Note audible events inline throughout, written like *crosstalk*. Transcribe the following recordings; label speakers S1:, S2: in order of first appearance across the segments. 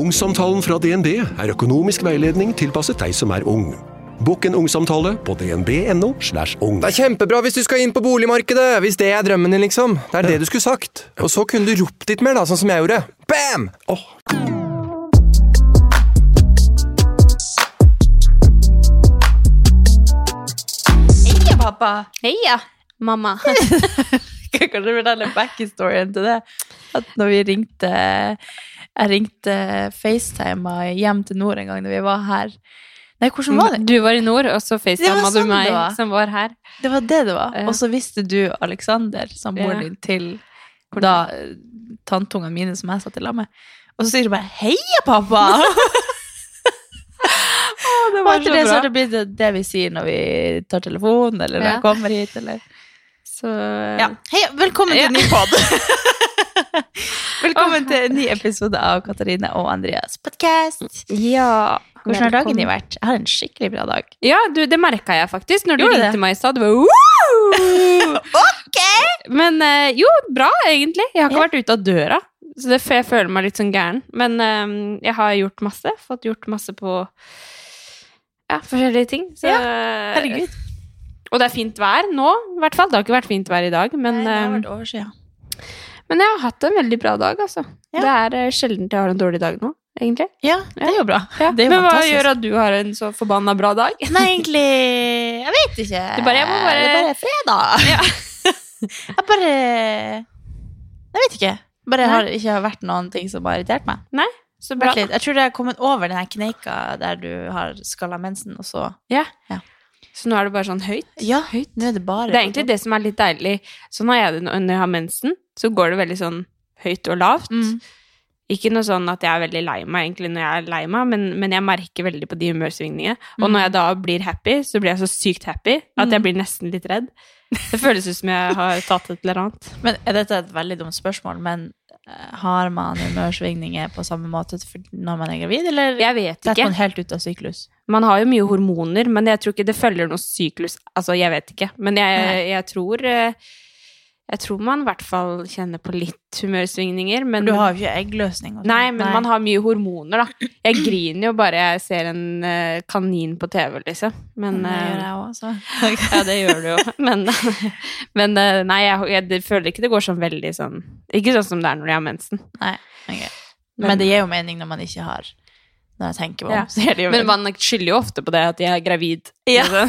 S1: Ungsamtalen fra DNB er økonomisk veiledning tilpasset deg som er ung. Bokk en ungsamtale på dnb.no. slash ung.
S2: Det er kjempebra hvis du skal inn på boligmarkedet, hvis det er drømmen din, liksom. Det er det du skulle sagt. Og så kunne du ropt litt mer, da, sånn som jeg gjorde. Bam! Åh,
S3: Heia, pappa. Heia, mamma. Kan *laughs* kanskje fortelle backstoryen til det. At når vi ringte Jeg ringte FaceTime hjem til nord en gang når vi var her. Nei, hvordan var det?
S4: Du var i nord, og
S3: Det
S4: så
S3: var
S4: facetima du
S3: sånn
S4: meg
S3: det var.
S4: som var her.
S3: Det var det det var.
S4: Ja.
S3: Og så visste du, Aleksander, samboeren
S4: Ja.
S3: din, til da eh, tanteungene mine som jeg satt i lag med. Og så sier du bare 'Heia, *laughs* pappa!'
S4: det
S3: Og etter det så har det blitt det vi sier når vi tar telefonen, eller når
S4: Ja.
S3: jeg kommer hit, eller
S4: Så,
S3: ja. Heia, velkommen til en ny
S4: *laughs*
S3: pod! velkommen til en ny episode av Katarina og Andreas podcast.
S4: ja.
S3: Hvordan har dagen din vært? Jeg har en skikkelig bra dag.
S4: Ja, du, det merka jeg faktisk når du
S3: Gjorde du
S4: ringte
S3: det?
S4: meg i stad. Du bare,
S3: *laughs*
S4: «Wow!» Men eh, jo, bra, egentlig. Jeg har ikke
S3: Ja.
S4: vært ute av døra, så det, jeg føler meg litt sånn gæren. Men eh, jeg har gjort masse. Fått gjort masse på ja, forskjellige ting. Så,
S3: Ja, Herregud.
S4: Eh, Og det er fint vær nå, i hvert fall. Det har ikke vært fint vær i dag, men,
S3: det har
S4: eh,
S3: vært over siden.
S4: men jeg har hatt en veldig bra dag, altså.
S3: Ja.
S4: Det er eh, sjelden jeg har en dårlig dag nå, egentlig.
S3: Ja, det er jo bra. Det er jo
S4: Men hva
S3: fantastisk.
S4: gjør at du har en så forbanna bra dag?
S3: Nei, egentlig Jeg vet ikke.
S4: *laughs* Det er bare- jeg må bare-
S3: Det er bare fredag. *laughs* jeg bare Jeg vet ikke. Bare
S4: Nei.
S3: har ikke har vært noen ting som har irritert meg.
S4: Så bra.
S3: Vært litt. Jeg tror jeg har kommet over den her kneika der du har skalla mensen, og så
S4: Så nå er det bare sånn høyt.
S3: Ja, høyt. Nå er det bare
S4: Det er egentlig det som er litt deilig. Sånn har jeg det nå- når jeg har mensen. Så går det veldig sånn høyt og lavt.
S3: Mm.
S4: Ikke noe sånn at jeg er veldig lei meg egentlig når jeg er lei meg, men, men jeg merker veldig på de humørsvingningene. Og
S3: Mm.
S4: når jeg da blir happy, så blir jeg så sykt happy at jeg blir nesten litt redd. Det føles ut som jeg har tatt et eller annet.
S3: Men er dette et veldig dumt spørsmål, men eh, har man humørsvingninger på samme måte for når man er gravid, eller
S4: Jeg vet
S3: detter
S4: ikke.
S3: man helt ut av syklus?
S4: Man har jo mye hormoner, men jeg tror ikke det følger noen syklus. Altså, jeg vet ikke. Men jeg,
S3: Nei.
S4: jeg tror eh, Jeg tror man i hvert fall kjenner på litt humørsvingninger, men
S3: Du har jo ikke eggløsning. og sånn.
S4: Nei, men man har mye hormoner, da. Jeg griner jo bare jeg ser en eh, kanin på TV, liksom. Men
S3: det gjør
S4: eh,
S3: jeg også.
S4: Ja, det gjør du jo. *laughs* Men, men eh, nei, jeg, jeg det føler ikke det går sånn veldig sånn Ikke sånn som det er når jeg har mensen.
S3: Nei, ok.
S4: Men-
S3: Men, det gir jo mening når man ikke har Når jeg tenker meg om.
S4: Ja.
S3: så gir det jo
S4: Men
S3: mening.
S4: man skylder jo ofte på det at jeg er gravid. Altså,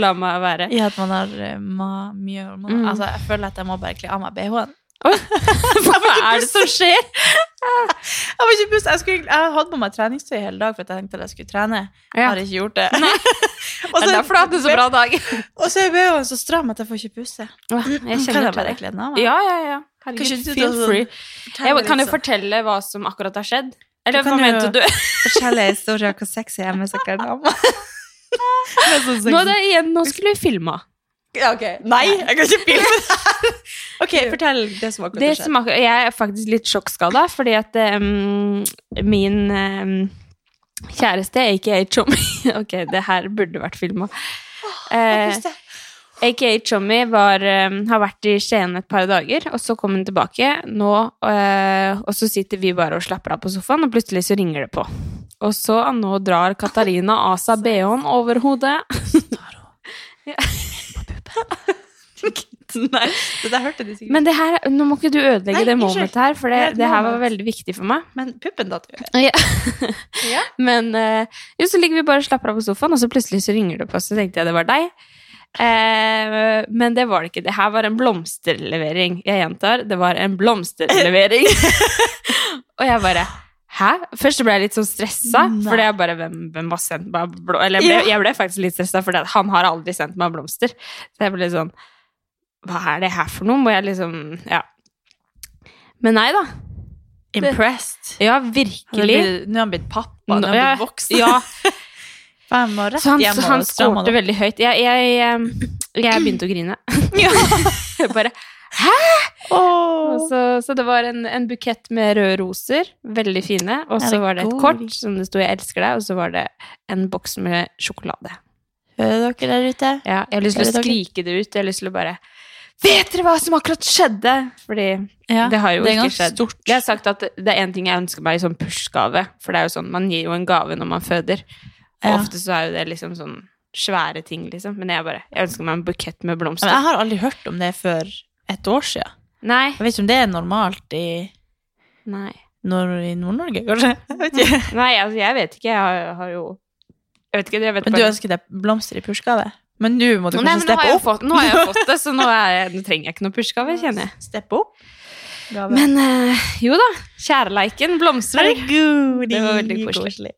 S4: La meg være.
S3: ja, at man har eh, ma, mye hormoner.
S4: Mm.
S3: Altså, jeg føler at jeg må bare kle av meg BH-en.
S4: Hva er det som skjer?
S3: Jeg, var ikke buss. jeg, skulle, jeg hadde på meg treningstøy hele dag for at jeg tenkte at jeg skulle trene.
S4: Ja.
S3: Har ikke gjort det. *laughs* og
S4: Det er derfor du hadde en så bra *laughs* dag.
S3: Og så er BH-en så stram at jeg får ikke puste.
S4: Jeg
S3: Kan
S4: kjenner
S3: jeg
S4: til
S3: bare
S4: det.
S3: kle den av meg?
S4: Ja, ja, ja.
S3: Kanskje
S4: Herregud,
S3: du
S4: feel
S3: tar sånn-
S4: free.
S3: Fortell
S4: Jeg
S3: meg
S4: kan jo
S3: litt sånn-
S4: fortelle hva som akkurat har skjedd. Eller
S3: kan
S4: hva
S3: jo-
S4: mente du? *laughs*
S3: *laughs* fortelle en historie om hvor sexy jeg er med sikkert *laughs* dama.
S4: Nå, er det igjen, nå skulle vi filma.
S3: Nei, jeg kan ikke *laughs* filme det her. Ok, fortell det som akkurat
S4: Det
S3: har skjedd.
S4: som akkurat- jeg er faktisk litt sjokkskada, fordi at em, min em, kjæreste, aka Chommy *laughs* Ok, det her burde vært filma. Eh,
S3: Puste.
S4: aka Chommy var, em, har vært i Skien et par dager, og så kom hun tilbake nå, eh, og så sitter vi bare og slapper av på sofaen, og plutselig så ringer det på. Og så nå drar
S3: *laughs*
S4: Katarina av seg BH-en over hodet. *laughs* *laughs* Nei.
S3: Det der hørte de sikkert.
S4: Men det her, nå må ikke du ødelegge
S3: Nei,
S4: det
S3: unnskyld.
S4: momentet her, for det,
S3: Det er et
S4: det her var
S3: moment.
S4: veldig viktig for meg.
S3: Men puppen datt jo.
S4: Ja. *laughs*
S3: Ja.
S4: Men eh, jo, så ligger vi bare og slapper av på sofaen, og så plutselig så ringer det på, så tenkte jeg det var deg. Eh, men det var det ikke. Det her var en blomsterlevering. Jeg gjentar, det var en blomsterlevering.
S3: *laughs*
S4: og jeg bare Hæ? Først så ble jeg litt sånn stressa,
S3: Nei.
S4: fordi jeg bare Hvem, hvem har sendt meg blå... Eller jeg ble, jeg ble faktisk litt stressa, for han har aldri sendt meg blomster. Så jeg ble litt sånn Hva er det her for noe? Må jeg liksom Ja. Men nei da.
S3: Impressed.
S4: Ja,
S3: Han er
S4: virkelig.
S3: blitt- Nå er han blitt pappa, nå
S4: Nå-
S3: er han
S4: ja,
S3: blitt voksen. *laughs*
S4: Ja,
S3: Faen, jeg må rett
S4: så han,
S3: hjem
S4: så
S3: og
S4: han
S3: stramme
S4: skårte
S3: det opp.
S4: veldig høyt. Jeg, jeg, eh, *clears throat* jeg begynte å *laughs* grine. Jeg *laughs* Bare,
S3: Åh.
S4: og så, så det var en, en bukett med røde roser, veldig fine. Og
S3: Er det
S4: så var det et
S3: god?
S4: kort som det sto 'Jeg elsker deg', og så var det en boks med sjokolade.
S3: Hører dere der ute?
S4: Ja, jeg har lyst til
S3: Er
S4: å
S3: det dere?
S4: skrike det ut. Jeg har lyst til å bare Vet dere hva som akkurat skjedde? Fordi
S3: Ja,
S4: det har jo
S3: det er
S4: ikke
S3: ganske
S4: skjedd.
S3: stort.
S4: Jeg har sagt at det er én ting jeg ønsker meg i sånn push-gave. For det er jo sånn, man gir jo en gave når man føder. Og
S3: Ja.
S4: ofte så er jo det liksom sånn svære ting, liksom. Men jeg bare Jeg ønsker meg en bukett
S3: Men
S4: med
S3: jeg
S4: blomster.
S3: har aldri hørt om det før et år siden.
S4: Nei.
S3: Jeg vet ikke om det er normalt i
S4: Nei.
S3: Nord- i Nord-Norge, kanskje? Jeg vet
S4: *laughs*
S3: ikke.
S4: Nei, altså, jeg vet ikke. Jeg har, har jo Jeg vet ikke. Jeg vet
S3: Men du
S4: bare-
S3: ønsker deg blomster i pushgave? Men nå må du
S4: Nei,
S3: kanskje
S4: men nå har,
S3: steppe
S4: jeg
S3: opp?
S4: fått, nå har
S3: *laughs*
S4: jeg fått det, så nå, er jeg, nå trenger jeg ikke noe push-gave, kjenner jeg.
S3: Steppe opp?
S4: Men eh, jo da. Kjærleiken blomstrer.
S3: Herregud,
S4: Det var veldig koselig.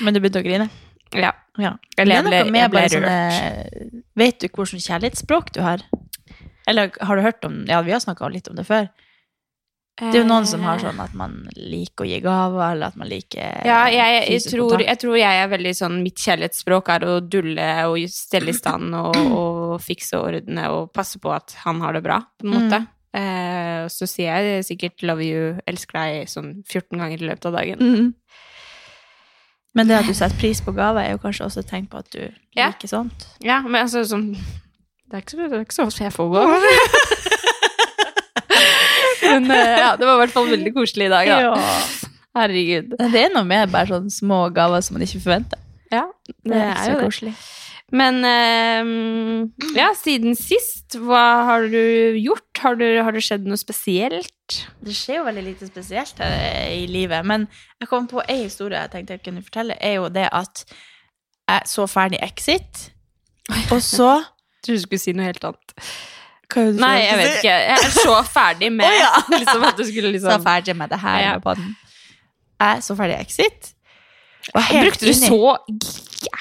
S3: Men du begynte å grine?
S4: Ja.
S3: Ja. det
S4: Eller jeg
S3: er
S4: ble,
S3: noe med
S4: jeg ble
S3: bare
S4: rørt.
S3: sånne Vet du hvilket kjærlighetsspråk du har? Eller har du hørt om Ja, vi har snakka litt om det før. Det er jo noen som har sånn at man liker å gi gaver, eller at man liker
S4: Ja, jeg, jeg,
S3: fysisk
S4: tror,
S3: kontakt.
S4: jeg tror jeg er veldig sånn Mitt kjærlighetsspråk er å dulle og stelle i stand *clears throat* og, og fikse og ordne og passe på at han har det bra, på en måte. Eh, og så sier jeg sikkert 'love you', 'elsker deg' sånn 14 ganger i løpet av dagen.
S3: Mm. Men det at du setter pris på gaver, er jo kanskje også et tegn på at du
S4: Ja.
S3: liker sånt.
S4: Ja, men altså sånn Det er ikke så, det er ikke så ofte jeg får
S3: *laughs*
S4: gaver. men eh, ja, det var i hvert fall veldig koselig i dag, da.
S3: *laughs*
S4: Herregud.
S3: Nei, Det er noe med bare sånne små gaver som man ikke forventer.
S4: Ja, det er jo det.
S3: koselig.
S4: Men ehm, ja, siden sist, hva har du gjort? Har, du, har det skjedd noe spesielt?
S3: Det skjer jo veldig lite spesielt her i livet, men jeg kom på en historie jeg tenkte jeg kunne fortelle, er jo det at jeg så ferdig Exit, og så
S4: Jeg trodde du skulle si noe helt annet.
S3: Hva er det du
S4: Nei, jeg vet ikke. Jeg er så ferdig med
S3: *laughs* Å, ja.
S4: liksom, at du skulle
S3: *laughs* *laughs* Så
S4: liksom
S3: ferdig med det her
S4: Ja.
S3: med podden. Sånn. Jeg så ferdig Exit. og helt
S4: Brukte du
S3: inni-
S4: så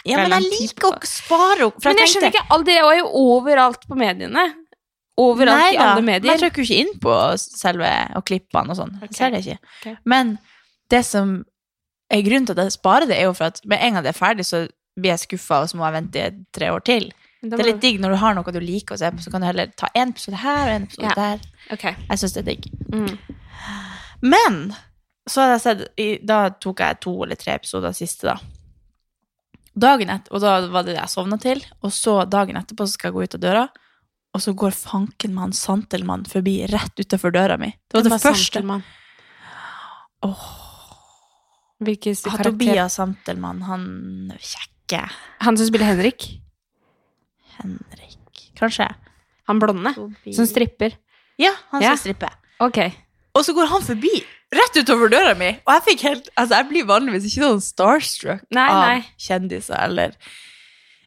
S3: Ja, men jeg liker å spare opp, for
S4: Men jeg skjønner ikke, all det var jo overalt på mediene. Overalt
S3: Nei
S4: i
S3: da,
S4: alle
S3: men Jeg
S4: medier.
S3: trykker jo ikke inn på selve og klippene og sånn.
S4: Ok.
S3: Jeg ser det ikke.
S4: Ok.
S3: Men det som er grunnen til at jeg sparer det, er jo for at med en gang det er ferdig, så blir jeg skuffa, og så må jeg vente i tre år til. Det er litt digg når du har noe du liker å se på, så kan du heller ta en episode her og en episode
S4: Ja.
S3: der.
S4: Ok.
S3: Jeg syns det er digg.
S4: Mm.
S3: Men så hadde jeg sett i- Da tok jeg to eller tre episoder siste, da. Dagen etter, og da var det det jeg sovna til. Og så dagen etterpå så skal jeg gå ut av døra, og så går fanken med han Santelmann forbi rett utafor døra mi. Det var det,
S4: Hvem
S3: første.
S4: Santelmann? Hvilken
S3: Han
S4: karakter?
S3: Tobias Santelmann, han kjekke
S4: Han som spiller Henrik?
S3: Henrik Kanskje.
S4: Han blonde? Som
S3: Tobias.
S4: stripper?
S3: Ja, han
S4: Ja.
S3: som stripper.
S4: Ok.
S3: Og så går han forbi, rett utover døra mi. Og jeg fikk helt, altså jeg blir vanligvis ikke sånn starstruck
S4: Nei,
S3: av
S4: nei.
S3: kjendiser, eller...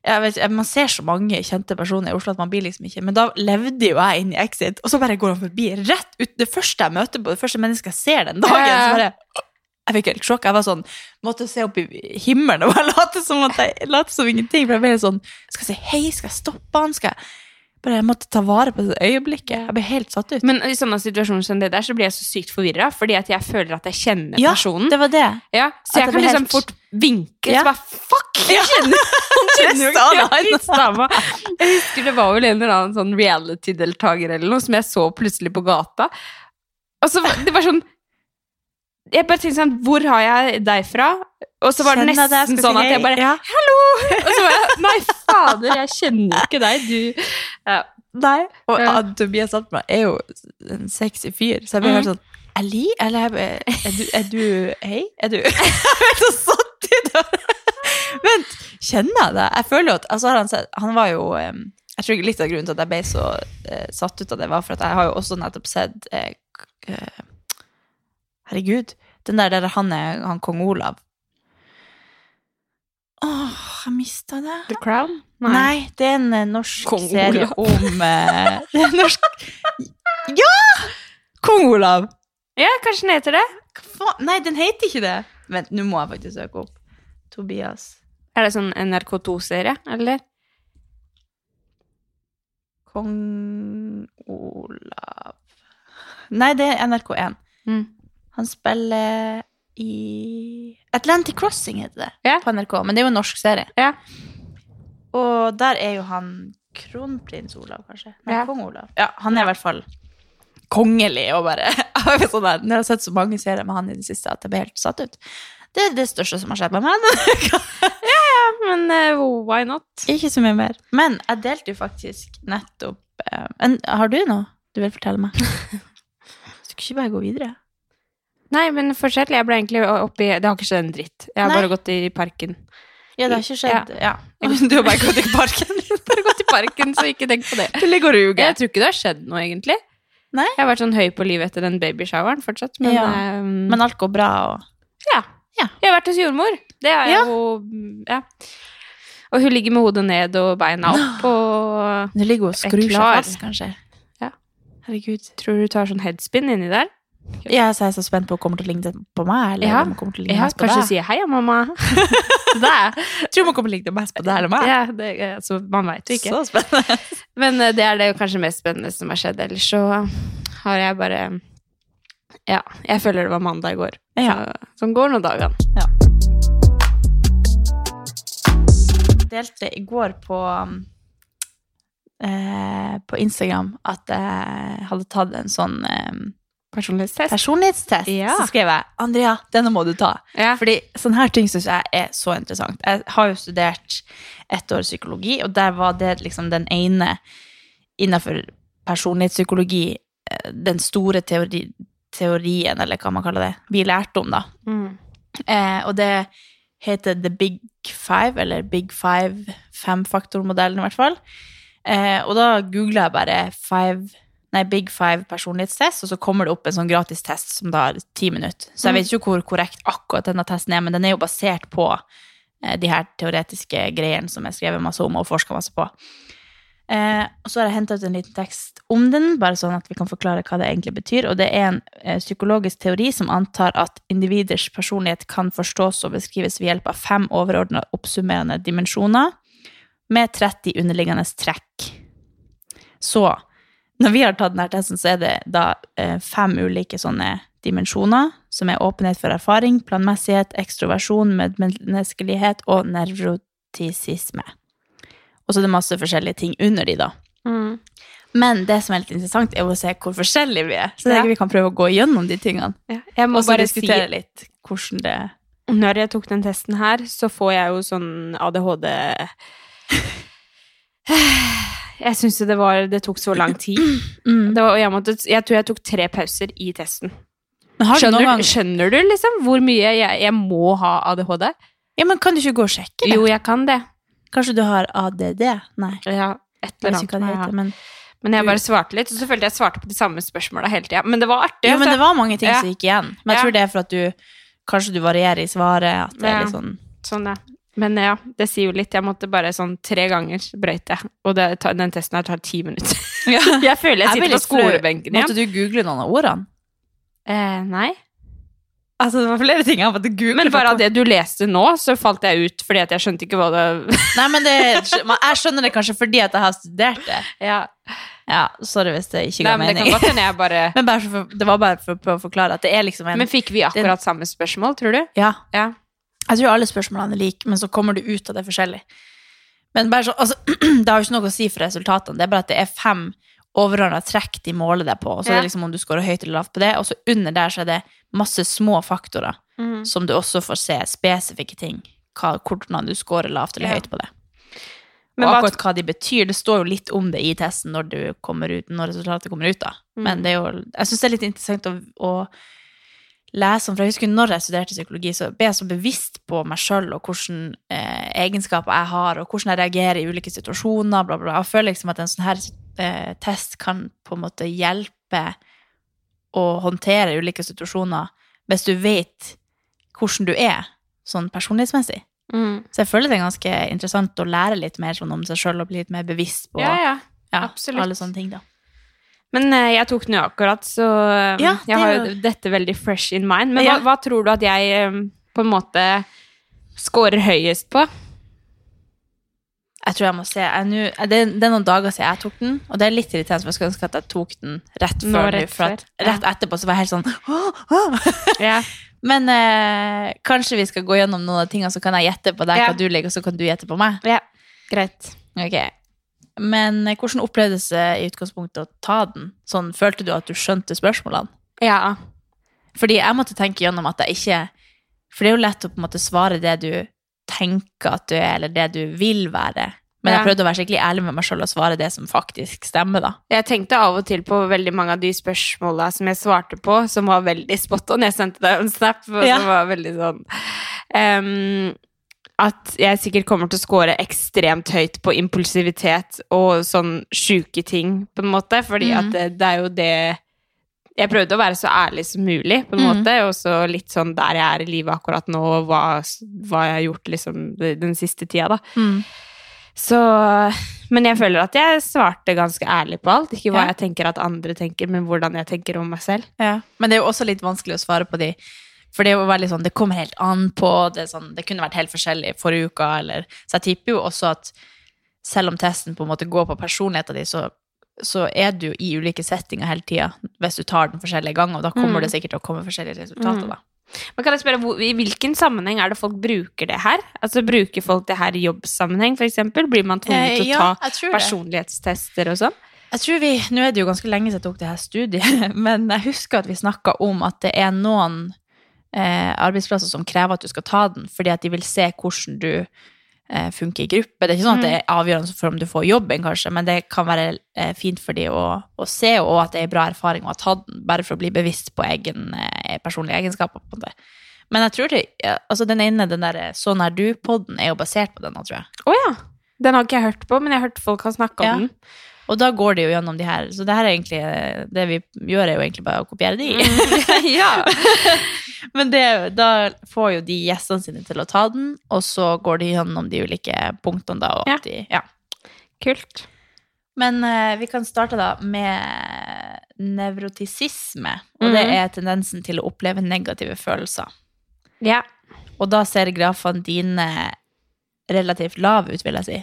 S3: Jeg vet, ikke, man ser så mange kjente personer i Oslo at man blir liksom ikke, men da levde jo jeg inn i Exit, og så bare går han forbi rett ut, det første jeg møter på, det første mennesket jeg ser den dagen,
S4: Ja, ja.
S3: så bare... Jeg fikk helt sjokk, jeg var sånn, måtte se opp i himmelen, og bare *laughs* late som, at jeg, late som ingenting, for jeg ble helt sånn, skal jeg si hei, skal jeg stoppe han, skal jeg... Bare jeg måtte ta vare på det øyeblikket, jeg ble helt satt ut.
S4: Men i sånne situasjoner som det der, så blir jeg så sykt forvirra, fordi at jeg føler at jeg kjenner
S3: ja,
S4: personen.
S3: det var det.
S4: ja,
S3: at
S4: så jeg
S3: det
S4: kan
S3: blir
S4: liksom
S3: helt-
S4: fort vinke,
S3: Ja.
S4: så bare fuck! Jeg kjenner han kjenner jo
S3: Stava.
S4: ikke han stava. Jeg husker det var vel en eller annen sånn reality-deltaker eller noe som jeg så plutselig på gata. Og så var- det var sånn Jeg bare tenkte sånn Hvor har jeg deg fra? Og så var det
S3: Kjenner deg,
S4: nesten
S3: skal
S4: sånn
S3: si
S4: at jeg
S3: hei.
S4: bare
S3: Ja.
S4: Hallo! *laughs* Og så var jeg Nei, fader, jeg kjenner ikke deg, du. Ja.
S3: Nei, og
S4: Ja.
S3: at Tobias Altmann er jo en sexy fyr, så jeg ble
S4: Mhm.
S3: helt sånn Ali, eller jeg bare, *laughs* er du, er du Hei, er du *laughs* Jeg ble så satt ut av det. Vent, kjenner jeg deg? Jeg føler jo at altså, han, sa- han var jo eh, Jeg tror litt av grunnen til at jeg ble så eh, satt ut av det, var for at jeg har jo også nettopp sett eh, k- eh, Herregud, den der der han er han kong Olav. Åh, jeg mista det.
S4: The Crown?
S3: Nei. det er en eh, norsk
S4: Kong
S3: serie
S4: Olav.
S3: om eh, *laughs* Det er en norsk Ja! Kong Olav!
S4: Ja, kanskje den heter det.
S3: Hva faen? Nei, den heter ikke det. Vent, nå må jeg faktisk søke opp. Tobias
S4: Er det sånn NRK2-serie, eller?
S3: Kong Olav Nei, det er NRK1.
S4: Mm.
S3: Han Han spiller i Atlantic Crossing heter det
S4: Ja.
S3: på NRK, men det er jo en norsk serie.
S4: Ja.
S3: Og der er jo han kronprins Olav, kanskje? Nei,
S4: Ja.
S3: kong Olav. Ja, han er i hvert fall kongelig og bare *laughs* Jeg er sånn der, Når jeg har sett så mange serier med han i det siste at jeg ble helt satt ut. Det er det største som har skjedd med meg.
S4: Men eh, why not?
S3: Ikke så mye mer. Men jeg delte jo faktisk nettopp eh, en, Har du noe du vil fortelle *laughs* meg? Skal ikke bare gå videre?
S4: Nei, men fortsett. Jeg ble egentlig oppi Det har ikke skjedd en dritt. Jeg har
S3: Nei.
S4: bare gått i parken.
S3: Ja, det har ikke skjedd. Ja.
S4: *laughs* Du har bare gått i
S3: *laughs*
S4: parken? bare gått i parken, så ikke tenk på det.
S3: Du ligger og
S4: Jeg tror ikke det har skjedd noe, egentlig.
S3: Nei.
S4: Jeg har vært sånn høy på livet etter den babyshoweren fortsatt, men,
S3: Ja.
S4: eh,
S3: Men alt går bra, og
S4: ja.
S3: Ja.
S4: Jeg har vært hos jordmor. Det er
S3: Ja.
S4: jo mm, Ja. Og hun ligger med hodet ned og beina
S3: *gasps*
S4: opp og
S3: Nå ligger hun og
S4: Jeg
S3: skrur seg
S4: klar.
S3: fast, kanskje.
S4: Herregud. Tror du du tar sånn headspin inni der?
S3: Ja, så er jeg så spent på om hun kommer til å ligne på meg, eller
S4: Ja.
S3: om hun kommer til å ligne
S4: Ja,
S3: mest på
S4: kanskje
S3: deg.
S4: sier 'heia, mamma'.
S3: til deg. Tror hun kommer til å ligne mest på deg eller meg.
S4: *laughs* Ja, det, altså, man veit jo ikke.
S3: Så spennende.
S4: Men eh, det er det kanskje mest spennende som har skjedd. Ellers så har jeg bare Ja, jeg føler det var mandag i går.
S3: Ja.
S4: Så, sånn går nå dagene.
S3: delte i går på um, eh, på Instagram at jeg hadde tatt en sånn um,
S4: Personlighetstest.
S3: personlighetstest.
S4: Ja.
S3: Så skrev jeg 'Andrea, denne må du ta'.
S4: Ja.
S3: Fordi sånne her ting syns jeg er så interessant. Jeg har jo studert ett år psykologi, og der var det liksom den ene innenfor personlighetspsykologi, eh, den store teori, teorien, eller hva man kaller det, vi lærte om, da.
S4: Mm.
S3: Eh, og det heter The Big Five, eller Big Five, femfaktormodellen i hvert fall. Eh, og da googlet jeg bare five, nei, Big Five personlighetstest, og så kommer det opp en sånn gratis test som tar ti minutter. Så jeg vet ikke hvor korrekt akkurat denne testen er, men den er jo basert på eh, de her teoretiske greiene som jeg skrev masse om og forsket masse på. Eh, og så har jeg hentet ut en liten tekst om den, bare sånn at vi kan forklare hva det egentlig betyr. Og det er en eh, psykologisk teori som antar at individers personlighet kan forstås og beskrives ved hjelp av fem overordna oppsummerende dimensjoner med 30 underliggende trekk. Så når vi har tatt denne testen, så er det da eh, fem ulike sånne dimensjoner, som er åpenhet for erfaring, planmessighet, ekstroversjon, medmenneskelighet og nevrotisisme. Og så er det masse forskjellige ting under de, da.
S4: Mm.
S3: Men det som er litt interessant, er jo å se hvor forskjellige vi er. Så jeg tenker vi kan prøve å gå gjennom de tingene.
S4: Ja. Jeg må
S3: Og så
S4: bare si
S3: diskutere litt hvordan det
S4: Når jeg tok den testen her, så får jeg jo sånn ADHD Jeg syns jo det var Det tok så lang tid.
S3: *clears throat* Mm.
S4: Det var, og jeg, måtte, jeg tror jeg tok tre pauser i testen.
S3: Men har du
S4: Skjønner,
S3: noen gang
S4: skjønner du liksom hvor mye jeg, jeg må ha ADHD?
S3: Ja, men kan du ikke gå og sjekke det?
S4: Jo, jeg kan det.
S3: Kanskje du har ADD? Nei.
S4: Ja, et
S3: Jeg
S4: eller
S3: vet
S4: annet.
S3: ikke hva det
S4: må jeg ha.
S3: heter, men
S4: Men jeg bare svarte litt, og så følte jeg svarte på de samme spørsmåla hele tida. Men det var artig.
S3: Jo, men
S4: altså.
S3: det var mange ting
S4: Ja.
S3: som gikk igjen. Men jeg
S4: Ja.
S3: tror det er for at du Kanskje du varierer i svaret. At det
S4: Ja.
S3: er litt *laughs* sånn
S4: Sånn, ja. Men ja, det sier jo litt. Jeg måtte bare sånn tre ganger brøyte. Og det, tar- den testen her tar ti minutter. *laughs* Jeg føler jeg
S3: Jeg blir
S4: sitter på
S3: litt flau.
S4: skolebenken
S3: Måtte du
S4: igjen.
S3: google noen av ordene?
S4: Eh, nei.
S3: Altså, det var flere ting jeg måtte google.
S4: Men bare av det du leste nå, så falt jeg ut fordi at jeg skjønte ikke hva det *laughs*
S3: Nei, men det, jeg skjønner det kanskje fordi at jeg har studert det.
S4: ja.
S3: Ja, Sorry hvis det ikke
S4: Nei,
S3: ga
S4: men det
S3: mening.
S4: kan godt hende jeg bare
S3: Men bare for, det var bare for, å prøve å forklare at det er liksom en
S4: *laughs* Men fikk vi akkurat samme spørsmål, tror du?
S3: Ja.
S4: Ja.
S3: Jeg tror alle spørsmålene er like, men så kommer du ut av det forskjellig. Men bare så, altså, *clears throat* Det har jo ikke noe å si for resultatene, det er bare at det er fem overordna trekk de måler deg på. Og så er
S4: Ja.
S3: det liksom om du scorer høyt eller lavt på det, og så under der så er det masse små faktorer
S4: Mhm.
S3: som du også får se spesifikke ting. Hva, hvordan du scorer lavt eller
S4: Ja.
S3: høyt på det.
S4: Men
S3: og
S4: hva-
S3: akkurat hva de betyr, det står jo litt om det i testen når, du kommer ut, når resultatet kommer ut. da.
S4: Mm.
S3: Men det er jo, jeg syns det er litt interessant å, å lese om, for jeg husker når jeg studerte psykologi, så ble jeg så bevisst på meg sjøl og hvilke eh, egenskaper jeg har, og hvordan jeg reagerer i ulike situasjoner, bla, bla, bla. Jeg føler liksom at en sånn her eh, test kan på en måte hjelpe å håndtere ulike situasjoner hvis du vet hvordan du er, sånn personlighetsmessig.
S4: Mm.
S3: Så jeg føler det er ganske interessant å lære litt mer sånn om seg sjøl og bli litt mer bevisst på
S4: Ja, ja.
S3: ja,
S4: absolutt.
S3: alle sånne ting, da.
S4: Men eh, jeg tok den jo akkurat, så eh,
S3: Ja, det
S4: jeg har jo
S3: er
S4: dette veldig fresh in mind. Men
S3: Ja.
S4: hva, hva tror du at jeg eh, på en måte scorer høyest på?
S3: Jeg tror jeg må se. Jeg, nu, det, det er noen dager siden jeg tok den, og det er litt irriterende, for jeg skulle ønske at jeg tok den rett
S4: Nå
S3: før. Nå,
S4: rett
S3: rett, for at,
S4: før, ja.
S3: rett etterpå så var jeg helt sånn «Åh, åh!»
S4: *laughs* Ja.
S3: Men eh, kanskje vi skal gå gjennom noen av tingene, så kan jeg gjette på deg
S4: Ja.
S3: hva du liker, og så kan du gjette på meg.
S4: ja. Greit.
S3: Ok. Men eh, hvordan opplevdes det i utgangspunktet å ta den? Sånn, følte du at du skjønte spørsmålene?
S4: Ja.
S3: Fordi jeg måtte tenke gjennom at jeg ikke For det er jo lett å på en måte svare det du tenker at du er, eller det du vil være. Men
S4: Ja.
S3: jeg prøvde å være skikkelig ærlig med meg sjøl og svare det som faktisk stemmer, da.
S4: Jeg tenkte av og til på veldig mange av de spørsmåla som jeg svarte på, som var veldig spot on. Jeg sendte deg en snap, og
S3: Ja.
S4: som var veldig sånn ehm, At jeg sikkert kommer til å score ekstremt høyt på impulsivitet og sånn sjuke ting, på en måte. Fordi at det, det er jo det Jeg prøvde å være så ærlig som mulig, på en måte. Og så litt sånn der jeg er i livet akkurat nå, og hva, hva jeg har gjort liksom den siste tida, da. Så, men jeg føler at jeg svarte ganske ærlig på alt. Ikke hva
S3: Ja.
S4: jeg tenker at andre tenker, men hvordan jeg tenker om meg selv.
S3: Men det er jo også litt vanskelig å svare på de. For det er jo veldig sånn, det kommer helt an på. Det, er sånn, det kunne vært helt forskjellig forrige uke. Eller, så jeg tipper jo også at selv om testen på en måte går på personligheten din, så, så er du i ulike settinger hele tida hvis du tar den forskjellige ganger. Og da kommer det sikkert til å komme forskjellige resultater, da.
S4: Men kan jeg spørre, hvor, I hvilken sammenheng er det folk bruker det her? Altså Bruker folk det her i jobbsammenheng, f.eks.? Blir man tvunget
S3: Eh,
S4: til å
S3: ja,
S4: ta
S3: jeg tror det.
S4: personlighetstester og sånn?
S3: Jeg tror vi, Nå er det jo ganske lenge siden jeg tok det her studiet, *laughs* men jeg husker at vi snakka om at det er noen eh, arbeidsplasser som krever at du skal ta den, fordi at de vil se hvordan du eh, funker i gruppe. Det er ikke sånn at det er avgjørende for om du får jobben, kanskje, men det kan være eh, fint for de å, å se, og at det er en bra erfaring å ha tatt den, bare for å bli bevisst på egen, eh, personlige egenskaper. på det. Men jeg tror det, ja, altså den ene, den der eh, Sånn er du-podden, er jo basert på den, da, tror jeg.
S4: Å ja! Den har ikke jeg hørt på, men jeg har hørt folk har snakka
S3: Ja. *laughs*
S4: om den.
S3: Og da går de jo gjennom de her. Så det her er egentlig eh, Det vi gjør, er jo egentlig bare å kopiere
S4: Mm.
S3: de. *laughs* Men det, er jo- da får jo de gjestene sine til å ta den, og så går de gjennom de ulike punktene, da. Og
S4: Ja.
S3: at De, ja.
S4: *laughs* Kult.
S3: Men eh, vi kan starte da med nevrotisisme. Og det
S4: Mhm.
S3: er tendensen til å oppleve negative følelser.
S4: Ja.
S3: Og da ser grafene dine relativt lave ut, vil jeg si.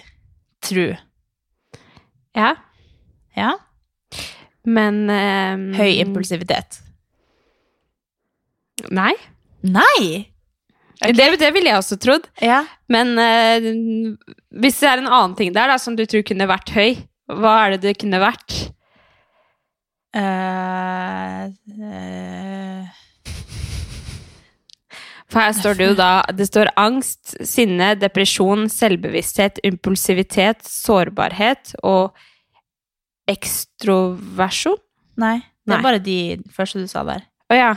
S3: Tru.
S4: ja.
S3: Ja.
S4: Men ehm,
S3: Høy impulsivitet.
S4: Nei.
S3: Nei!
S4: Det, det ville jeg også trodd.
S3: Ja.
S4: Men eh, hvis det er en annen ting der da, som du tror kunne vært høy, hva er det det kunne vært?
S3: Eh, eh,
S4: For her står det jo da Det står angst, sinne, depresjon, selvbevissthet, impulsivitet, sårbarhet og ekstroversjon.
S3: nei, det
S4: Nei.
S3: er bare de første du sa der.
S4: Å ja.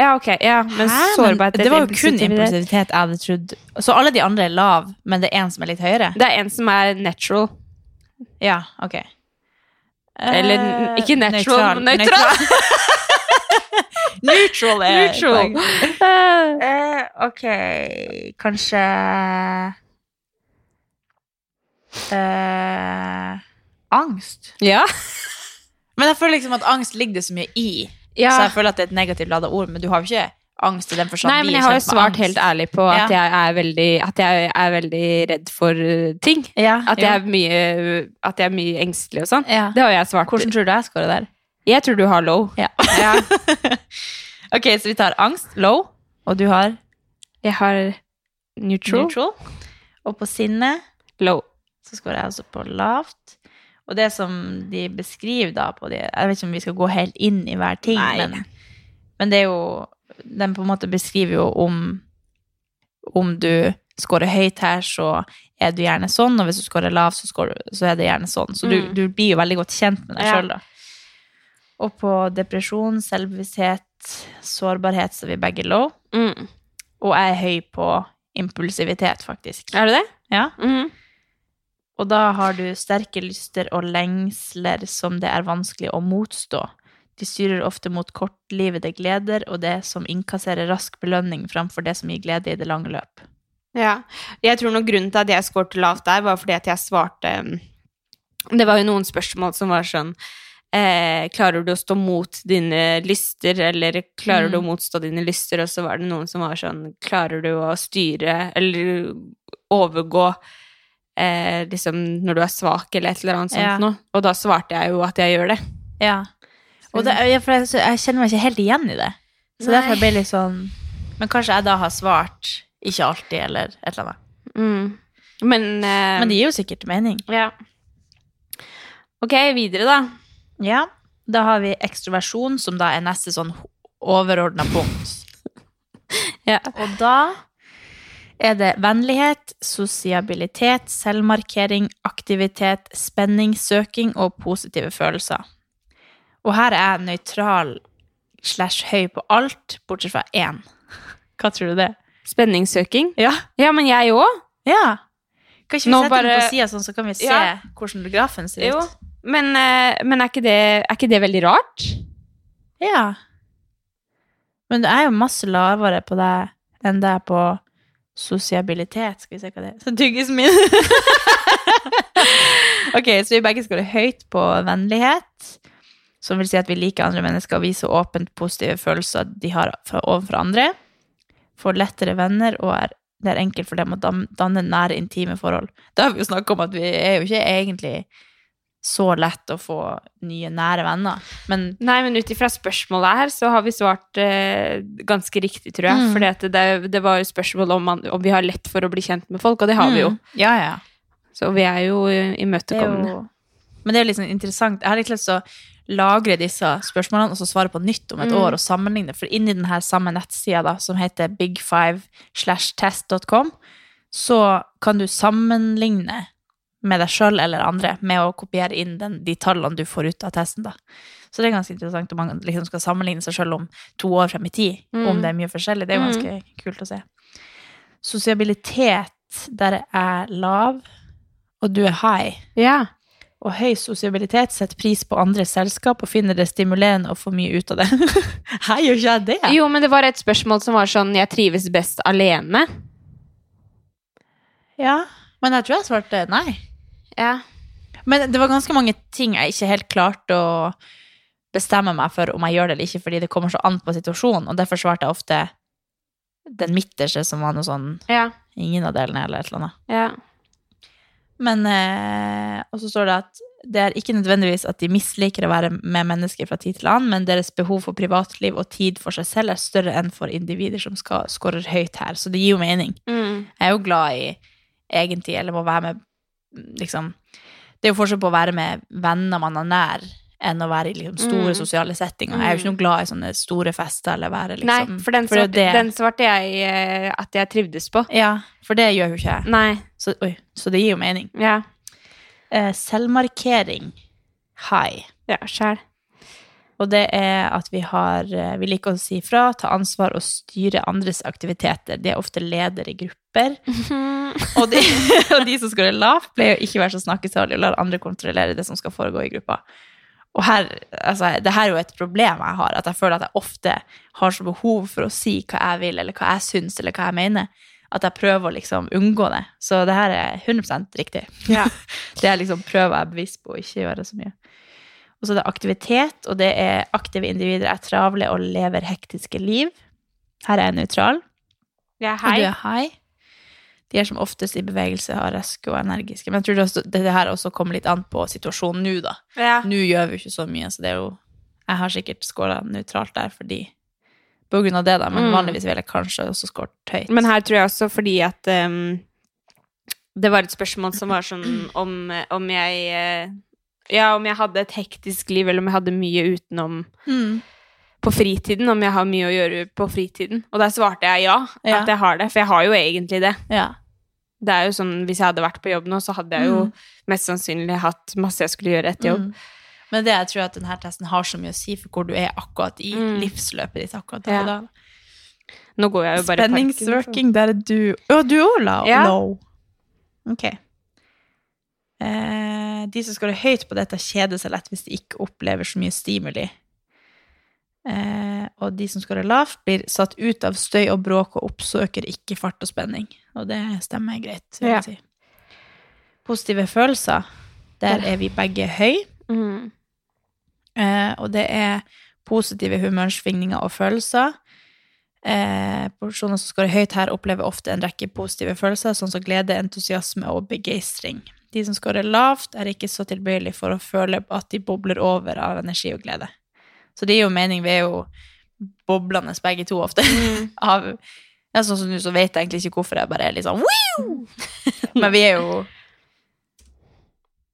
S4: Ja, ok. Ja, men sårbarhet
S3: det var jo kun impulsivitet jeg hadde trodd. Så alle de andre er lav, men det er en som er litt høyere?
S4: Det er en som er natural.
S3: Ja, ok. Eh,
S4: Eller n- ikke natural, men nøytral. *laughs*
S3: neutral er
S4: Neutral.
S3: Eh, ok, kanskje eh, Angst.
S4: *laughs* Ja.
S3: Men jeg føler liksom at angst ligger det så mye i.
S4: Ja.
S3: Så jeg føler at det er et negativt ladet ord, men du har jo ikke angst i den forstand.
S4: Nei,
S3: vi
S4: men
S3: er
S4: jeg har jo
S3: kjent med
S4: svart
S3: sånn angst.
S4: helt ærlig på at, jeg, er veldig, at jeg er veldig redd for uh, ting.
S3: Ja,
S4: At
S3: jo.
S4: jeg, er mye, at jeg er mye engstelig og sånn.
S3: Ja.
S4: Det har jeg svart.
S3: Hvordan tror du jeg scorer der?
S4: Jeg tror du har low. Ja.
S3: *laughs* ok, så vi tar angst, low, og du har
S4: Jeg har neutral,
S3: neutral. Og på sinne
S4: low.
S3: så scorer jeg også på lavt. Og det som de beskriver da på de Jeg vet ikke om vi skal gå helt inn i hver ting,
S4: Nei.
S3: men, men det er jo Den på en måte beskriver jo om Om du scorer høyt her, så er du gjerne sånn, og hvis du scorer lavt, så, scorer, så er det gjerne sånn. Så du,
S4: Mm.
S3: du blir jo veldig godt kjent med deg
S4: Ja.
S3: sjøl, da. Og på depresjon, selvbevissthet, sårbarhet, så er vi begge low.
S4: Mm.
S3: Og jeg er høy på impulsivitet, faktisk.
S4: Er du det?
S3: Ja.
S4: Mm.
S3: Og da har du sterke lyster og lengsler som det er vanskelig å motstå. De styrer ofte mot kortlivede gleder og det som innkasserer rask belønning framfor det som gir glede i det lange løp.
S4: Ja. Jeg tror noe grunnen til at jeg skårte lavt der, var fordi at jeg svarte um, Det var jo noen spørsmål som var sånn eh, Klarer du å stå mot dine lyster, eller klarer du å motstå dine lyster? Og så var det noen som var sånn Klarer du å styre, eller overgå eh, liksom, når du er svak eller et eller annet sånt
S3: Ja.
S4: noe. Og da svarte jeg jo at jeg gjør det.
S3: Ja. Og det, ja, for jeg, så jeg kjenner meg ikke helt igjen i det. Så
S4: Nei.
S3: derfor ble jeg litt sånn Men kanskje jeg da har svart ikke alltid, eller et eller annet.
S4: Mm. Men, eh,
S3: Men det gir jo sikkert mening.
S4: ja. Ok, videre da.
S3: Ja. Da har vi ekstroversjon, som da er neste sånn overordna punkt.
S4: Ja.
S3: Og da er det vennlighet, sosiabilitet, selvmarkering, aktivitet, spenning, søking og positive følelser. Og her er jeg nøytral slash høy på alt, bortsett fra én. Hva tror du det? er?
S4: Spenningssøking.
S3: Ja.
S4: Ja, men jeg òg.
S3: ja. Kan ikke vi
S4: Nå
S3: sette
S4: bare-
S3: den på sida, sånn, så kan vi se
S4: Ja.
S3: hvordan grafen ser
S4: Jo.
S3: ut?
S4: Men, eh, men er, ikke det, er ikke det veldig rart?
S3: Ja. Men det er jo masse lavere på deg enn det er på sosiabilitet. Skal vi se hva det er. *laughs* Så tyggisen min. ok, så vi begge skårer høyt på vennlighet, som vil si at vi liker andre mennesker og viser åpent positive følelser de har fra, overfor andre. Får lettere venner og er det er enkelt for dem å dam- danne nære, intime forhold. Da har vi jo snakket om at vi er jo ikke egentlig så lett å få nye, nære venner. Men
S4: Nei, men ut ifra spørsmålet her, så har vi svart eh, ganske riktig, tror jeg.
S3: Mm.
S4: Fordi at det, det var jo spørsmål om, man, om vi har lett for å bli kjent med folk, og det har vi jo.
S3: Mm. Ja, ja.
S4: Så vi er jo eh,
S3: Det er
S4: imøtekommende.
S3: jo... Men det er jo liksom interessant. Jeg har litt lyst til å lagre disse spørsmålene og så svare på nytt om et
S4: Mm.
S3: år og sammenligne. For inni den her samme nettsida da, som heter bigfive-test.com, så kan du sammenligne med deg sjøl eller andre med å kopiere inn den, de tallene du får ut av testen. da. Så det er ganske interessant om man liksom skal sammenligne seg sjøl om to år frem i tid.
S4: Mm.
S3: Om det er mye forskjellig. Det er jo
S4: Mm.
S3: ganske kult å se. Sosialitet, der jeg er lav, og du er high.
S4: Ja.
S3: Og høy sosialitet setter pris på andres selskap og finner det stimulerende å få mye ut av det. *laughs* Hei, gjør ikke jeg det?
S4: Jo, men det var et spørsmål som var sånn Jeg trives best alene.
S3: Ja, men jeg tror jeg svarte nei.
S4: Ja.
S3: Men det var ganske mange ting jeg ikke helt klarte å bestemme meg for om jeg gjør det eller ikke, fordi det kommer så an på situasjonen, og derfor svarte jeg ofte den midterste som var noe sånn
S4: Ja.
S3: ingen av delene eller et eller annet.
S4: ja.
S3: Men, eh, og så står det at det er ikke nødvendigvis at de misliker å være med mennesker fra tid til annen, men deres behov for privatliv og tid for seg selv er større enn for individer som skal skårer høyt her. Så det gir jo mening.
S4: Mm.
S3: Jeg er jo glad i egentlig, eller må være med, liksom. Det er jo forskjell på å være med venner man er nær, enn å være i liksom, store
S4: Mm.
S3: sosiale settinger. Jeg er jo ikke noe glad i sånne store fester eller være liksom.
S4: Nei, for den,
S3: det er jo
S4: svarte-
S3: det-
S4: den svarte jeg eh, at jeg trivdes på.
S3: Ja, for det gjør jo ikke jeg.
S4: Nei.
S3: Så, oi, så det gir jo mening.
S4: Ja.
S3: Eh, selvmarkering. High.
S4: Ja, sjæl.
S3: Og det er at vi har eh, Vi liker å si fra, ta ansvar og styre andres aktiviteter. De er ofte leder i grupper. Og de, *laughs* og de som scorer lavt, pleier å ikke være så snakkesalige og lar andre kontrollere det som skal foregå i gruppa. Og her, altså, det her er jo et problem jeg har, at jeg føler at jeg ofte har så behov for å si hva jeg vil, eller hva jeg syns, eller hva jeg mener, at jeg prøver å liksom unngå det. Så det her er 100 riktig. *laughs* det jeg liksom prøver jeg er bevisst på å ikke gjøre så mye. Og så er det aktivitet, og det er aktive individer er travle og lever hektiske liv. Her er jeg nøytral.
S4: Jeg
S3: Og
S4: er
S3: du
S4: hei.
S3: er hei. De er som oftest i bevegelse, har raske og energiske. Men jeg tror det, også, det det her også kommer litt an på situasjonen nå, da.
S4: Ja.
S3: Nå gjør vi jo ikke så mye, så det er jo Jeg har sikkert skåla nøytralt der fordi På grunn av det, da. Men
S4: Mm.
S3: vanligvis ville jeg kanskje også skåret høyt.
S4: Men her tror jeg også fordi at ehm, det var et spørsmål som var sånn *clears throat* om, eh, om jeg eh, Ja, om jeg hadde et hektisk liv, eller om jeg hadde mye utenom
S3: Mm.
S4: på fritiden, om jeg har mye å gjøre på fritiden. Og der svarte jeg ja,
S3: Ja.
S4: at jeg har det, for jeg har jo egentlig det.
S3: Ja.
S4: Det er jo sånn, Hvis jeg hadde vært på jobb nå, så hadde jeg jo mest sannsynlig hatt masse jeg skulle gjøre etter jobb.
S3: Mm. Men det jeg tror at denne testen har så mye å si for hvor du er akkurat i
S4: Mm.
S3: livsløpet ditt akkurat
S4: Ja.
S3: der og da.
S4: Nå går jeg jo bare i parken.
S3: Spenningssøking, der er du Å, du òg, la
S4: Ja.
S3: low. Ok. Eh, de som scorer høyt på dette, kjeder seg lett hvis de ikke opplever så mye stimuli. Eh, og de som scorer lavt, blir satt ut av støy og bråk og oppsøker ikke fart og spenning. Og det stemmer greit. vil jeg
S4: Ja.
S3: Si. Positive følelser. Der er vi begge høy.
S4: Mm.
S3: Eh, og det er positive humørsvingninger og følelser. Eh, Personer som skårer høyt her, opplever ofte en rekke positive følelser, sånn som glede, entusiasme og begeistring. De som skårer lavt, er ikke så tilbøyelige for å føle at de bobler over av energi og glede. Så det gir jo mening. Vi er jo boblende begge to ofte. *laughs* av, ja, sånn som nå, så vet jeg egentlig ikke hvorfor jeg bare er litt sånn «Woo!» *laughs* Men vi er jo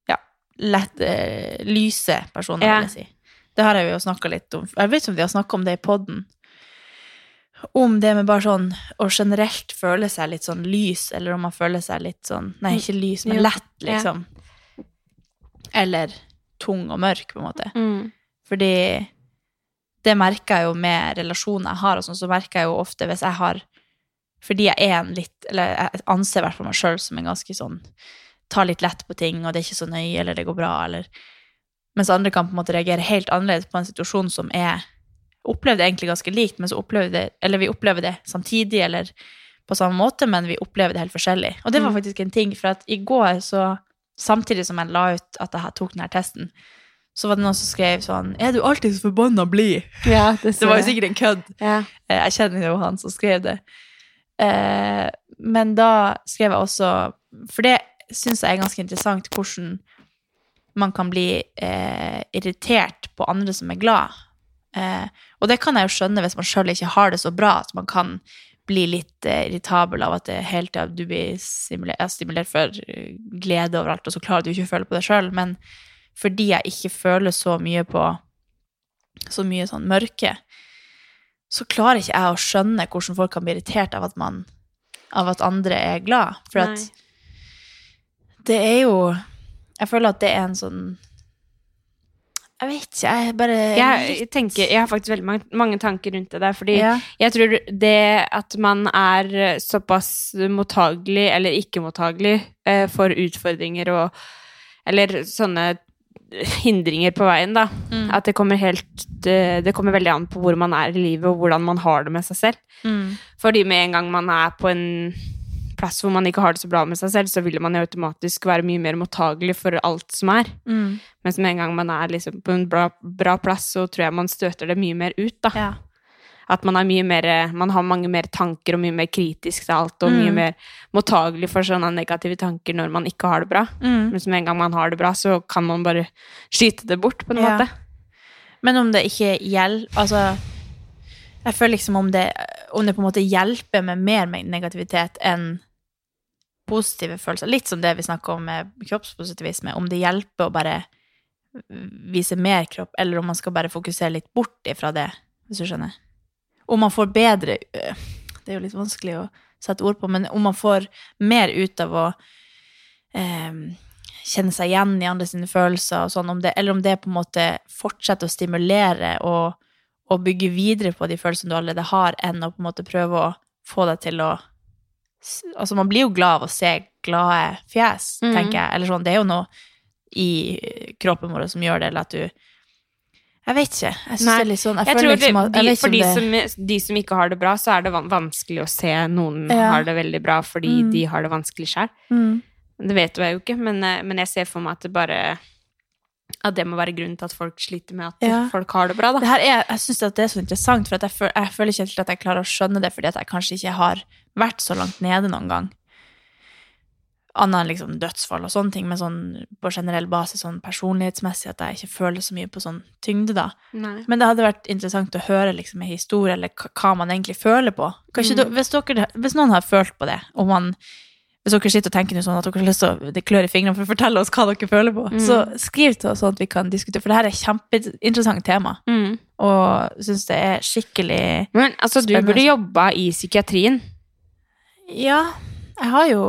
S3: ja, lett eh, lyse personer,
S4: Ja.
S3: vil jeg si. Det har jeg jo snakka litt om. Jeg vet ikke om vi har snakka om det i poden. Om det med bare sånn å generelt føle seg litt sånn lys, eller om man føler seg litt sånn Nei, ikke lys, men
S4: Jo.
S3: lett,
S4: Ja.
S3: liksom. Eller tung og mørk, på en måte.
S4: Mm.
S3: Fordi det merker jeg jo med relasjoner jeg har, og sånn, så merker jeg jo ofte hvis jeg har Fordi jeg er en litt Eller jeg anser i hvert fall meg sjøl som en ganske sånn Tar litt lett på ting, og det er ikke så nøye, eller det går bra, eller Mens andre kan på en måte reagere helt annerledes på en situasjon som er Opplevde egentlig ganske likt, men så opplever det Eller vi opplever det samtidig, eller på samme måte, men vi opplever det helt forskjellig. Og det var faktisk en ting, for at i går så Samtidig som jeg la ut at jeg tok denne testen, så var det noen som skrev sånn Er du alltid så forbanna blid?
S4: Ja,
S3: Det var jo sikkert en kødd.
S4: ja.
S3: Eh, Jeg kjenner jo han som skrev det. Eh, Men da skrev jeg også For det syns jeg er ganske interessant hvordan man kan bli eh, irritert på andre som er glad. Eh, og det kan jeg jo skjønne hvis man sjøl ikke har det så bra, at man kan bli litt eh, irritabel av at det hele tida du blir stimulert, stimulert for eh, glede overalt, og så klarer du ikke å føle på det sjøl. Men fordi jeg ikke føler så mye på så mye sånn mørke, så klarer ikke jeg å skjønne hvordan folk kan bli irritert av at man av at andre er glad. For at
S4: Nei.
S3: det er jo Jeg føler at det er en sånn Jeg vet ikke, jeg bare
S4: Jeg, tenker, jeg har faktisk veldig mange, mange tanker rundt det der, fordi
S3: Ja.
S4: jeg tror det at man er eh, såpass mottagelig eller ikke mottagelig eh, for utfordringer og Eller sånne hindringer på veien, da.
S3: Mm.
S4: At det kommer helt eh, det, det kommer veldig an på hvor man er i livet, og hvordan man har det med seg selv.
S3: Mm.
S4: Fordi med en gang man er på en plass hvor man ikke har det så bra med seg selv, så vil man jo automatisk være mye mer mottagelig for alt som er.
S3: Mm.
S4: Mens med en gang man er liksom på en bra, bra plass, så tror jeg man støter det mye mer ut. da.
S3: Ja.
S4: At man, er mye mer, eh, man har mange mer tanker og mye mer kritisk til alt, og
S3: Mm.
S4: mye mer mottagelig for sånne negative tanker når man ikke har det bra.
S3: Mm.
S4: Mens med en gang man har det bra, så kan man bare skyte det bort, på en
S3: Ja.
S4: måte.
S3: Men om det ikke hjelper Altså, jeg føler liksom om det, om det på en måte hjelper med mer med negativitet enn positive følelser. Litt som det vi snakker om med kroppspositivisme. Om det hjelper å bare vise mer kropp, eller om man skal bare fokusere litt bort ifra det, hvis du skjønner. Om man får bedre øh, Det er jo litt vanskelig å sette ord på, men om man får mer ut av å eh, kjenne seg igjen i andre sine følelser og sånn, om det, eller om det på en måte fortsetter å stimulere og, og bygge videre på de følelsene du allerede har, enn å på en måte prøve å få deg til å s- Altså, man blir jo glad av å se glade fjes,
S4: Mhm.
S3: tenker jeg. Eller sånn, det er jo noe i øh, kroppen vår som gjør det, eller at du Jeg vet ikke. Jeg syns
S4: Nei,
S3: det er litt sånn Jeg,
S4: Jeg
S3: føler
S4: tror det,
S3: liksom at jeg
S4: de,
S3: vet ikke
S4: For
S3: om
S4: de
S3: det-
S4: som, de som ikke har det bra, så er det van- vanskelig å se noen
S3: Ja.
S4: har det veldig bra fordi
S3: Mm.
S4: de har det vanskelig sjøl.
S3: Mm.
S4: Det vet jeg jo ikke, men, eh, men jeg ser for meg at det bare At det må være grunnen til at folk sliter med at
S3: Ja.
S4: folk har det bra, da.
S3: Det her er, jeg syns det er så interessant, for at jeg, føl, jeg føler ikke helt at jeg klarer å skjønne det, fordi at jeg kanskje ikke har vært så langt nede noen gang. Annet enn liksom dødsfall og sånne ting, men sånn, på generell basis sånn personlighetsmessig at jeg ikke føler så mye på sånn tyngde, da.
S4: Nei.
S3: Men det hadde vært interessant å høre liksom, en historie, eller k- hva man egentlig føler på. Kanskje da- hvis, dere, hvis noen har følt på det, og man, hvis dere sitter og tenker noe sånn at dere har lyst til å det klør i fingrene for å fortelle oss hva dere føler på, så skriv til oss sånn at vi kan diskutere, for det her er et kjempeinteressant tema.
S4: Mm.
S3: Og syns det er skikkelig
S4: Men altså, du
S3: Spennende.
S4: burde jobba i psykiatrien.
S3: Ja, jeg har jo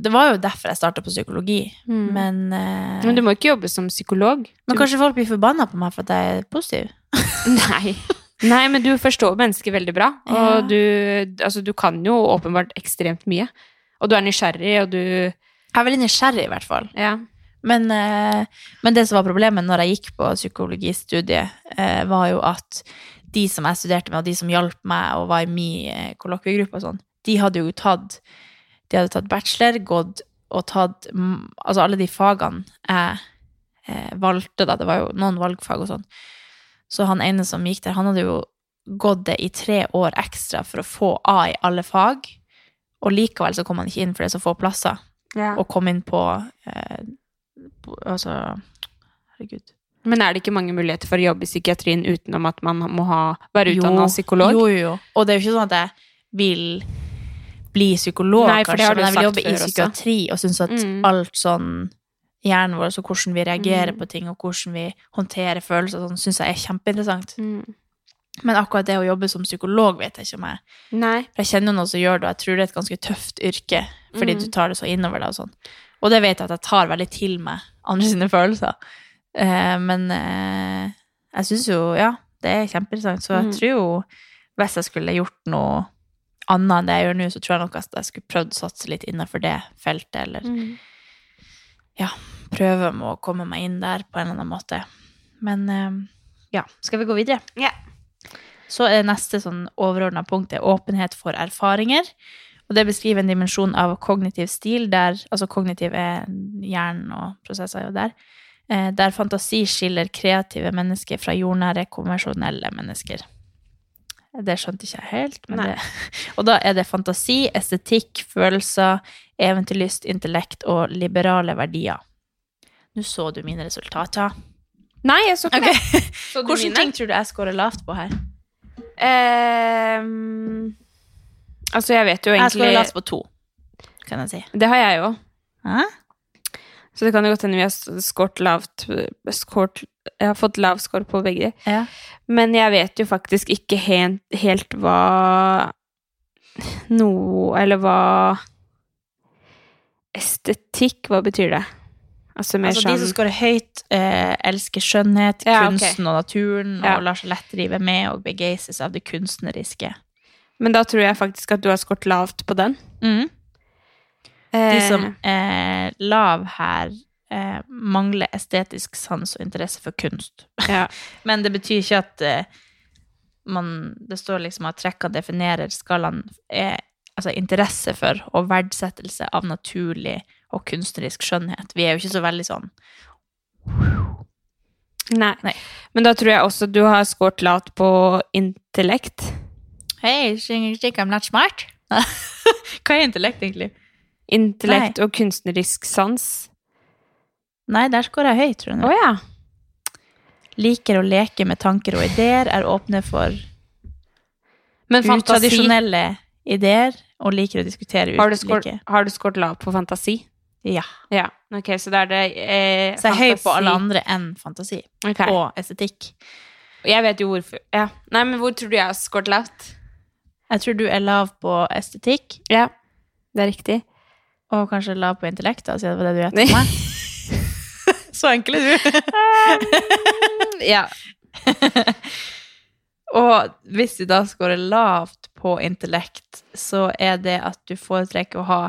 S3: Det var jo derfor jeg starta på psykologi,
S4: Mm.
S3: men, eh,
S4: Men du må ikke jobbe som psykolog.
S3: men kanskje folk blir forbanna på meg for at jeg er positiv?
S4: *laughs* Nei. Nei, men du forstår mennesker veldig bra.
S3: Ja.
S4: Og du, altså, du kan jo åpenbart ekstremt mye. Og du er nysgjerrig, og du
S3: Jeg er veldig nysgjerrig, i hvert fall.
S4: Ja.
S3: Men, eh, men det som var problemet når jeg gikk på psykologistudiet, eh, var jo at de som jeg studerte med, og de som hjalp meg og var i min eh, kollokviegruppe og sånn, de hadde jo tatt, de hadde tatt bachelor, gått og tatt mm, altså alle de fagene jeg eh, valgte, da. Det var jo noen valgfag og sånn. Så han ene som gikk der, han hadde jo gått det i tre år ekstra for å få A i alle fag, og likevel så kom han ikke inn for det er så få plasser,
S4: Ja.
S3: og kom inn på, eh, på altså, herregud.
S4: Men er det ikke mange muligheter for å jobbe i psykiatrien utenom at man må ha, være utdanna psykolog?
S3: Jo, jo, jo. Og det er jo ikke sånn at jeg vil bli psykolog,
S4: Nei, for det har
S3: kanskje, men jeg
S4: du
S3: vil jobbe i
S4: sagt før også.
S3: psykiatri og synes at
S4: Mm.
S3: alt sånn hjernen vår, så hvordan vi reagerer
S4: Mm.
S3: på ting, og hvordan vi håndterer følelser, og sånn, synes jeg er kjempeinteressant.
S4: Mm.
S3: Men akkurat det å jobbe som psykolog vet jeg ikke om jeg
S4: Nei.
S3: For jeg kjenner jo noen som gjør det, og jeg tror det er et ganske tøft yrke, fordi
S4: Mm.
S3: du tar det så innover deg og sånn. Og det vet jeg at jeg tar veldig til meg andre sine følelser. Eh, men eh, jeg syns jo, ja, det er kjempeinteressant. Så jeg
S4: Mm.
S3: tror jo, hvis jeg skulle gjort noe annet enn det jeg gjør nå, så tror jeg nok at jeg skulle prøvd å satse litt innenfor det feltet, eller prøve med å komme meg inn der på en eller annen måte. Men eh, ja, skal vi gå videre?
S4: Ja.
S3: Så er neste sånn overordna punkt er åpenhet for erfaringer. Og det beskriver en dimensjon av kognitiv stil, der, altså kognitiv er hjernen og prosesser er jo der, eh, der fantasi skiller kreative mennesker fra jordnære, konvensjonelle mennesker. Det skjønte ikke jeg helt. Men
S4: Nei.
S3: det, *laughs* og da er det fantasi, estetikk, følelser, eventyrlyst, intellekt og liberale verdier. Nå så du mine resultater.
S4: Nei, jeg så ikke
S3: Ok.
S4: det. *laughs* Så du
S3: Hvilke
S4: mine?
S3: ting tror du jeg scorer lavt på her?
S4: Ehm, altså, jeg vet jo
S3: Jeg scorer
S4: egentlig
S3: lavt på to, kan jeg si.
S4: Det har jeg jo.
S3: Hæ?
S4: Så det kan jo godt hende vi har skåret lavt skårt, Jeg har fått lav score på begge.
S3: Ja.
S4: Men jeg vet jo faktisk ikke helt, helt hva Noe Eller hva Estetikk, hva betyr det? Altså mer
S3: Altså, de som
S4: sånn
S3: scorer høyt, eh, elsker skjønnhet,
S4: Ja, ok.
S3: kunsten og naturen,
S4: Ja.
S3: og lar seg lett drive med og begeises av det kunstneriske.
S4: Men da tror jeg faktisk at du har skåret lavt på den.
S3: De
S4: Eh, *laughs*
S3: som eh, lav her, eh, mangler estetisk sans og interesse for kunst. *laughs*
S4: ja.
S3: Men det betyr ikke at eh, man Det står liksom at trekkene definerer skalaen er altså interesse for og verdsettelse av naturlig og kunstnerisk skjønnhet. Vi er jo ikke så veldig sånn
S4: Nei.
S3: Nei.
S4: Men da tror jeg også du har skåret lavt på intellekt.
S3: Hei, I'm not
S4: *laughs*
S3: smart. Hva er intellekt, egentlig?
S4: Intellekt og kunstnerisk sans.
S3: Nei, der scorer jeg høyt, tror jeg.
S4: Å ja.
S3: Liker å leke med tanker og ideer, er åpne for
S4: Men fantasi
S3: utradisjonelle ideer, og liker å diskutere
S4: Har du skåret
S3: ulike.
S4: har du skåret lavt på fantasi?
S3: Ja.
S4: Ja. Ok, så da er det eh,
S3: Så jeg er høy på
S4: fantasi.
S3: alle andre enn fantasi
S4: Ok.
S3: og estetikk.
S4: Jeg vet jo hvorfor. Ja. Nei, men hvor tror du jeg har skåret lavt?
S3: Jeg tror du er lav på estetikk,
S4: Ja, det er riktig.
S3: og kanskje lav på intellekt, da, siden det var det du gjette på
S4: *laughs*
S3: meg. Så enkel er du.
S4: Ja.
S3: Og hvis du da scorer lavt på intellekt, så er det at du foretrekker å ha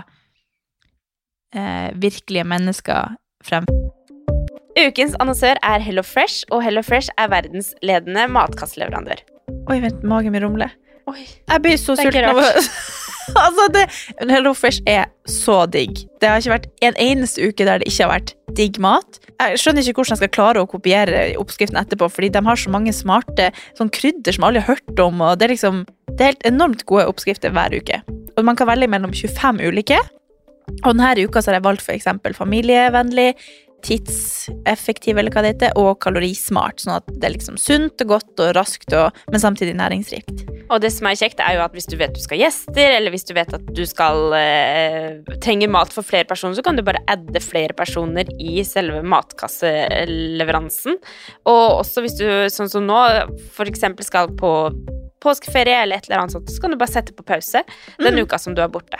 S3: eh, virkelige mennesker frem.
S5: Ukens annonsør er Hello Fresh, og Hello Fresh er verdens ledende matkastleverandør.
S3: Oi, vent, magen min rumler.
S5: Oi,
S3: Jeg blir så
S5: Det er ikke
S3: sulten av å *laughs* Altså, det Hello Fresh er så digg. Det har ikke vært en eneste uke der det ikke har vært digg mat. Jeg skjønner ikke hvordan jeg skal klare å kopiere oppskriften etterpå, fordi de har så mange smarte sånn krydder som alle har hørt om, og det er liksom Det er helt enormt gode oppskrifter hver uke. Og man kan velge mellom 25 ulike. Og denne uka så har jeg valgt for eksempel familievennlig, tidseffektiv, eller hva det heter, og kalorismart, sånn at det er liksom sunt og godt og raskt, og, men samtidig næringsrikt.
S5: Og det som er kjekt er jo at hvis du vet du skal ha gjester, eller hvis du vet at du skal eh, trenge mat for flere personer, så kan du bare adde flere personer i selve matkasseleveransen. Og også hvis du, sånn som nå, for eksempel skal på påskeferie eller et eller annet sånt, så kan du bare sette på pause den uka som du er borte.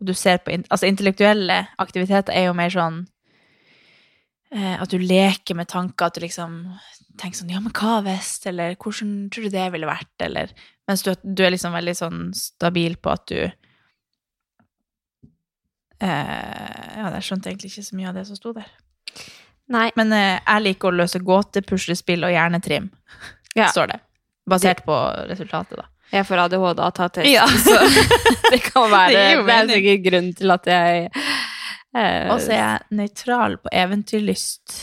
S3: og du ser på in altså intellektuelle aktiviteter er jo mer sånn eh, at du leker med tanker, at du liksom tenker sånn Ja, men hva hvis? Eller hvordan tror du det ville vært? Eller Mens du, du er liksom veldig sånn stabil på at du Eh, ja, jeg skjønte egentlig ikke så mye av det som sto der.
S4: Nei.
S3: Men eh, jeg liker å løse gåter, puslespill og hjernetrim,
S4: Ja.
S3: står det. Basert på resultatet, da.
S4: Jeg får ADHD av å ta test,
S3: Ja.
S4: *laughs* så det kan
S3: *laughs* Det
S4: være Det
S3: gir
S4: er,
S3: jo mening.
S4: sikkert grunnen til at jeg eh,
S3: Og så er jeg nøytral på eventyrlyst.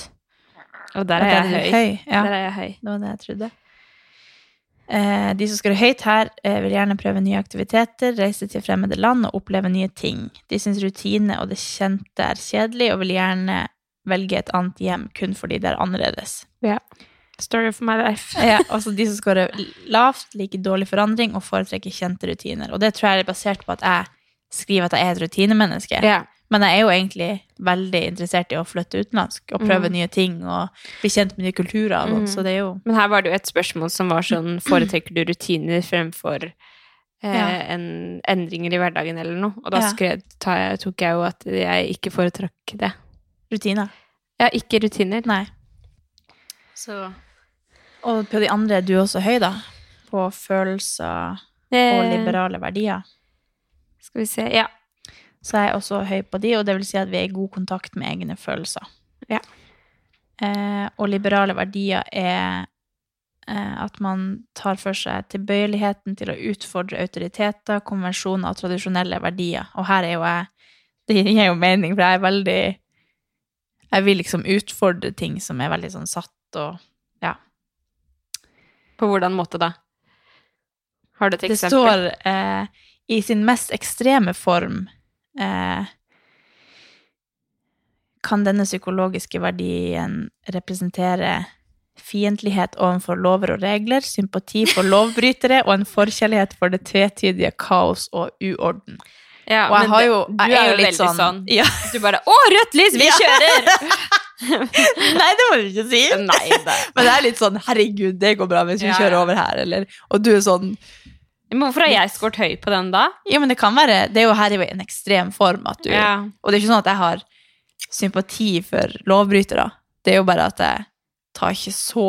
S4: Og der
S3: Og
S4: er jeg høy.
S3: Ja,
S4: Der er jeg høy.
S3: det var det jeg trodde. Eh, de som skårer høyt her, eh, vil gjerne prøve nye aktiviteter, reise til fremmede land og oppleve nye ting. De syns rutine og det kjente er kjedelig, og vil gjerne velge et annet hjem kun fordi det er annerledes.
S4: Story of my life.
S3: Ja, *laughs* altså de som scorer lavt, liker dårlig forandring og foretrekker kjente rutiner. Og det tror jeg er basert på at jeg skriver at jeg er et rutinemenneske.
S4: Ja.
S3: Men jeg er jo egentlig veldig interessert i å flytte utenlandsk og prøve nye ting og bli kjent med nye kulturer. og sånt, Så det er jo
S4: Men her var det jo et spørsmål som var
S3: *clears throat*
S4: sånn Foretrekker du rutiner fremfor eh,
S3: Ja.
S4: en, endringer i hverdagen eller noe? Og da
S3: Ja.
S4: skrev, ta, tok jeg jo at jeg ikke foretrakk det.
S3: rutiner.
S4: Ja, ikke rutiner.
S3: Nei.
S4: Så
S3: Og på de andre er du også høy, da. På følelser og
S4: Eh,
S3: liberale verdier.
S4: Skal vi se. Ja.
S3: Så jeg er også høy på de, og det vil si at vi er i god kontakt med egne følelser.
S4: Ja.
S3: Eh, og liberale verdier er eh, at man tar for seg tilbøyeligheten til å utfordre autoriteter, konvensjoner og tradisjonelle verdier. Og her er jo jeg *laughs* Det gir jo mening, for jeg er veldig Jeg vil liksom utfordre ting som er veldig sånn satt og
S4: På hvordan måte da? Har du et
S3: Det
S4: eksempel?
S3: står eh, i sin mest ekstreme form eh, Kan denne psykologiske verdien representere fiendtlighet overfor lover og regler, sympati for lovbrytere og en forkjærlighet for det tvetydige kaos og uorden?
S4: Ja,
S3: Og jeg
S4: men
S3: har
S4: det-
S3: jo, jeg
S4: du
S3: er jo litt
S4: veldig
S3: sånn, *laughs* Ja.
S4: Du bare 'Å, rødt lys! Vi
S3: Ja.
S4: kjører!'
S3: *laughs* Nei, det må du ikke si!
S4: Nei da.
S3: Men det er litt sånn 'herregud, det går bra hvis vi
S4: Ja, ja.
S3: kjører over her', eller Og du er sånn
S4: Men hvorfor har jeg skåret høy på den, da?
S3: Ja, men det kan være Det er jo her i en ekstrem form at du
S4: Ja.
S3: Og det er ikke sånn at jeg har sympati for lovbrytere. Det er jo bare at jeg tar ikke så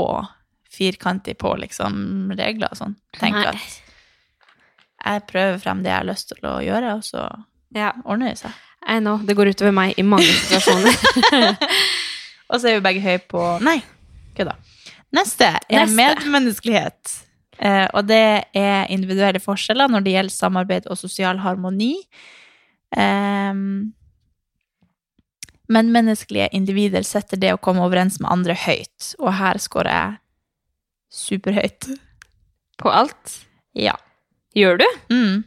S3: firkantig på liksom regler og sånn. Tenker
S4: Nei.
S3: at jeg prøver frem det jeg har lyst til å gjøre, og så
S4: Ja,
S3: ordner det seg.
S4: I know. Det går utover meg i mange
S3: *laughs*
S4: situasjoner.
S3: Og så er vi begge høye på Nei, kødda. Neste er
S4: Neste.
S3: medmenneskelighet. Eh, og det er individuelle forskjeller når det gjelder samarbeid og sosial harmoni. Ehm, men menneskelige individer setter det å komme overens med andre høyt, og her scorer jeg superhøyt.
S4: på alt.
S3: Ja.
S4: Gjør du?
S3: Mm.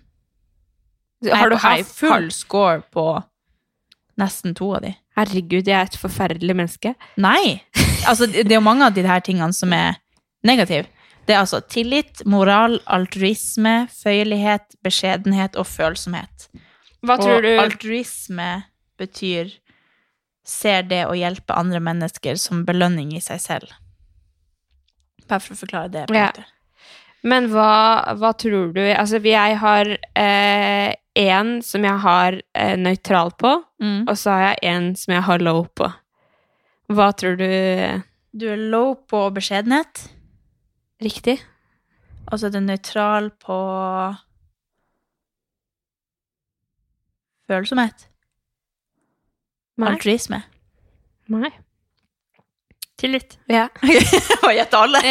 S4: Har du
S3: jeg har
S4: high
S3: full
S4: full?
S3: score på nesten to av de.
S4: Herregud, jeg er et forferdelig menneske.
S3: Nei. Altså, det det er jo mange av de her tingene som er negative. Det er altså tillit, moral, altruisme, føyelighet, beskjedenhet og følsomhet.
S4: Hva tror
S3: og
S4: du
S3: altruisme betyr ser det å hjelpe andre mennesker som belønning i seg selv. Bare for å forklare det. på en
S4: Ja.
S3: måte.
S4: Men hva, hva tror du Altså, jeg har én som jeg har eh, nøytral på,
S3: Mm.
S4: og så har jeg én som jeg har low på. Hva tror du eh,
S3: Du er low på beskjedenhet,
S4: Riktig?
S3: og så er du nøytral på følsomhet.
S4: Nei.
S3: Altruisme.
S4: Nei. Tillit. Ja.
S3: *laughs* Og gjette alle.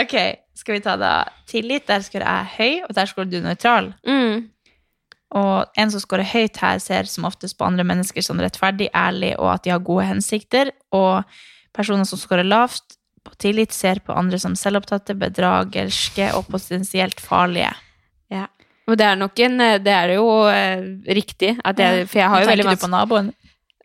S3: ok, skal vi ta da tillit. Der skårer jeg høy, og der skårer du nøytral.
S4: *laughs* Mm.
S3: Og en som skårer høyt her, ser som oftest på andre mennesker som rettferdig, ærlig, og at de har gode hensikter. Og personer som skårer lavt på tillit, ser på andre som selvopptatte, bedragerske og potensielt farlige.
S4: Ja. Og det er nok en eh, Det er jo eh, riktig, at jeg, for jeg har jo veldig
S3: Tenker du på naboen?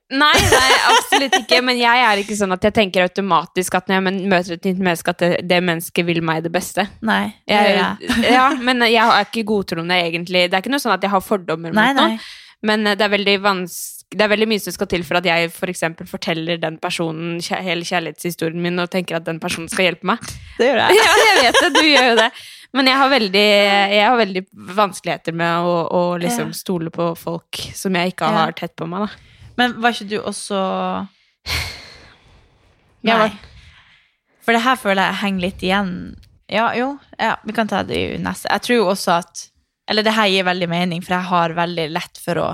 S4: Nei, nei, absolutt ikke. Men jeg er ikke sånn at jeg tenker automatisk at når jeg men- møter et nytt menneske, at det, det mennesket vil meg det beste.
S3: Nei. det gjør
S4: Jeg,
S3: jeg.
S4: *laughs* ja, men jeg er ikke godtroende, egentlig. Det er ikke noe sånn at jeg har fordommer
S3: Nei,
S4: mot
S3: nei.
S4: noen. Men eh, det er veldig vanskelig det er veldig mye som skal til for at jeg for eksempel forteller den personen kjæ- hele kjærlighetshistorien min og tenker at den personen skal hjelpe meg.
S3: Det *laughs* gjør jeg.
S4: *laughs* Ja, jeg vet det, du gjør jo det. Men jeg har veldig, jeg har veldig vanskeligheter med å, å liksom
S3: Ja.
S4: stole på folk som jeg ikke
S3: Ja.
S4: har tett på meg, da.
S3: Men var ikke du også
S4: Jeg
S3: *sighs* Nei.
S4: var-
S3: For det her føler jeg henger litt igjen. Ja, jo. Ja, vi kan ta det i neste. Jeg tror jo også at Eller det her gir veldig mening, for jeg har veldig lett for å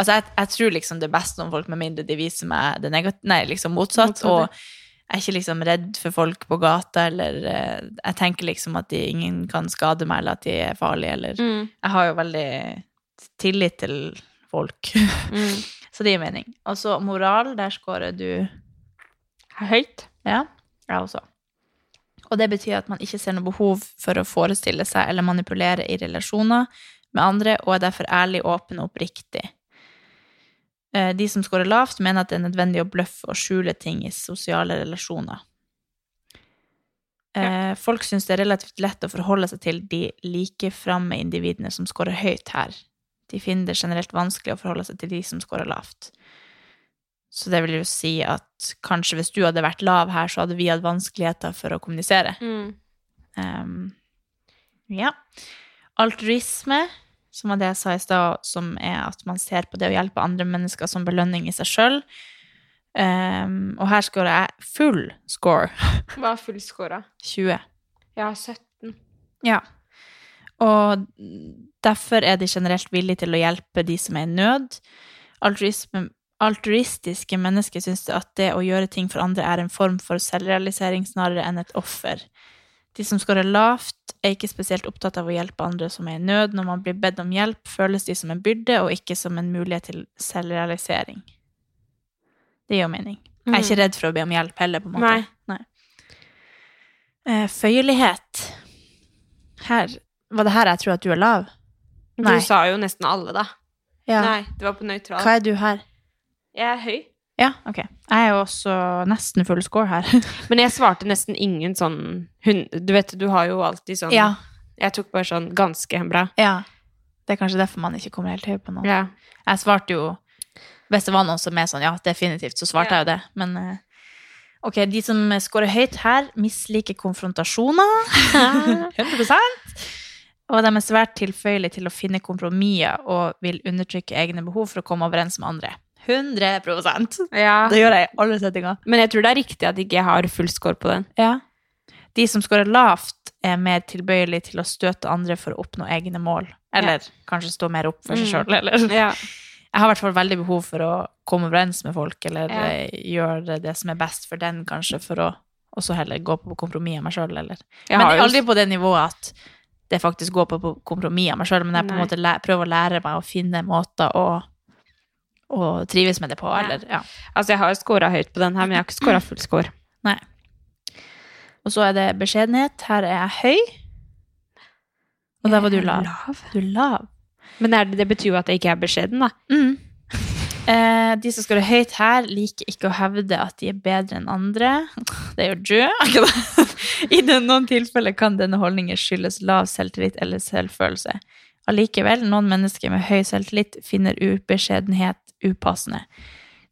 S3: Altså, jeg, jeg tror liksom det er best om folk, med mindre de viser meg det negat- Nei, liksom motsatt.
S4: Motsatt, ja.
S3: Og jeg er ikke liksom redd for folk på gata, eller eh, Jeg tenker liksom at de, ingen kan skade meg, eller at de er farlige, eller
S4: Mm,
S3: Jeg har jo veldig tillit til folk. *laughs*
S4: mm,
S3: Så det gir mening. Og så moral, der scorer du
S4: Høyt.
S3: Ja, jeg også. Og det betyr at man ikke ser noe behov for å forestille seg eller manipulere i relasjoner med andre, og er derfor ærlig, åpen og oppriktig. Eh, De som scorer lavt, mener at det er nødvendig å bløffe og skjule ting i sosiale relasjoner. Eh, Folk syns det er relativt lett å forholde seg til de likeframme individene som scorer høyt her. De finner det generelt vanskelig å forholde seg til de som scorer lavt. Så det vil jo si at kanskje hvis du hadde vært lav her, så hadde vi hatt vanskeligheter for å kommunisere.
S4: mm.
S3: Ehm, ja. Altruisme, som var det jeg sa i stad, som er at man ser på det å hjelpe andre mennesker som belønning i seg sjøl. Ehm, og her scorer jeg full score.
S4: Hva er full score?
S3: 20.
S4: Jeg har 17.
S3: Ja. Og derfor er de generelt villige til å hjelpe de som er i nød. Altruisme, altruistiske mennesker syns at det å gjøre ting for andre er en form for selvrealisering snarere enn et offer. De som scorer lavt, er ikke spesielt opptatt av å hjelpe andre som er i nød. Når man blir bedt om hjelp, føles de som en byrde og ikke som en mulighet til selvrealisering. Det gir jo mening. Jeg er ikke redd for å be om hjelp heller, på en måte.
S4: Mm. Nei.
S3: Nei. Eh, føyelighet. Her, var det her jeg tror at du er lav? Nei.
S4: Du sa jo nesten alle, da.
S3: Ja.
S4: Nei, det var på nøytral.
S3: Hva er du her?
S4: Jeg er høy.
S3: Ja, ok. Jeg er jo også nesten full score her. *laughs*
S4: Men jeg svarte nesten ingen sånn hun, Du vet, du har jo alltid sånn
S3: Ja.
S4: Jeg tok bare sånn ganske bra.
S3: ja. Det er kanskje derfor man ikke kommer helt høy på noen.
S4: Ja.
S3: Jeg svarte jo Hvis det var noen som er sånn, ja, definitivt, så svarte jeg jo det. Men eh, ok, de som scorer høyt her, misliker *laughs* konfrontasjoner. 100 Og de er svært tilføyelige til å finne kompromisser og vil undertrykke egne behov for å komme overens med andre. 100 Det gjør jeg i alle settinger.
S4: Men jeg tror det er riktig at ikke jeg har full score på den.
S3: Ja. De som scorer lavt, er mer tilbøyelig til å støte andre for å oppnå egne mål. Eller kanskje stå mer opp for
S4: Mm.
S3: seg sjøl, eller Jeg har i hvert fall veldig behov for å komme overens med folk, eller
S4: Ja.
S3: eh, gjøre det som er best for den, kanskje, for å også heller gå på kompromiss av meg sjøl, eller
S4: Jeg
S3: Men
S4: har jo-
S3: aldri på det nivået at det faktisk går på på kompromiss av meg sjøl, men jeg på en
S4: Nei.
S3: måte læ- prøver å lære meg å finne måter å, å trives med det på,
S4: Ja.
S3: eller ja.
S4: Altså, jeg har jo scora høyt på den her, men jeg har ikke scora full score.
S3: Nei. Og så er det beskjedenhet. Her er jeg høy. Og der var du lav. Du er lav.
S4: Men er det, det betyr jo at jeg ikke er beskjeden, da.
S3: Mm. Eh, de som scorer høyt her, liker ikke å hevde at de er bedre enn andre. *laughs* Det gjør du. I den- noen tilfeller kan denne holdningen skyldes lav selvtillit eller selvfølelse. Allikevel, noen mennesker med høy selvtillit finner ubeskjedenhet upassende.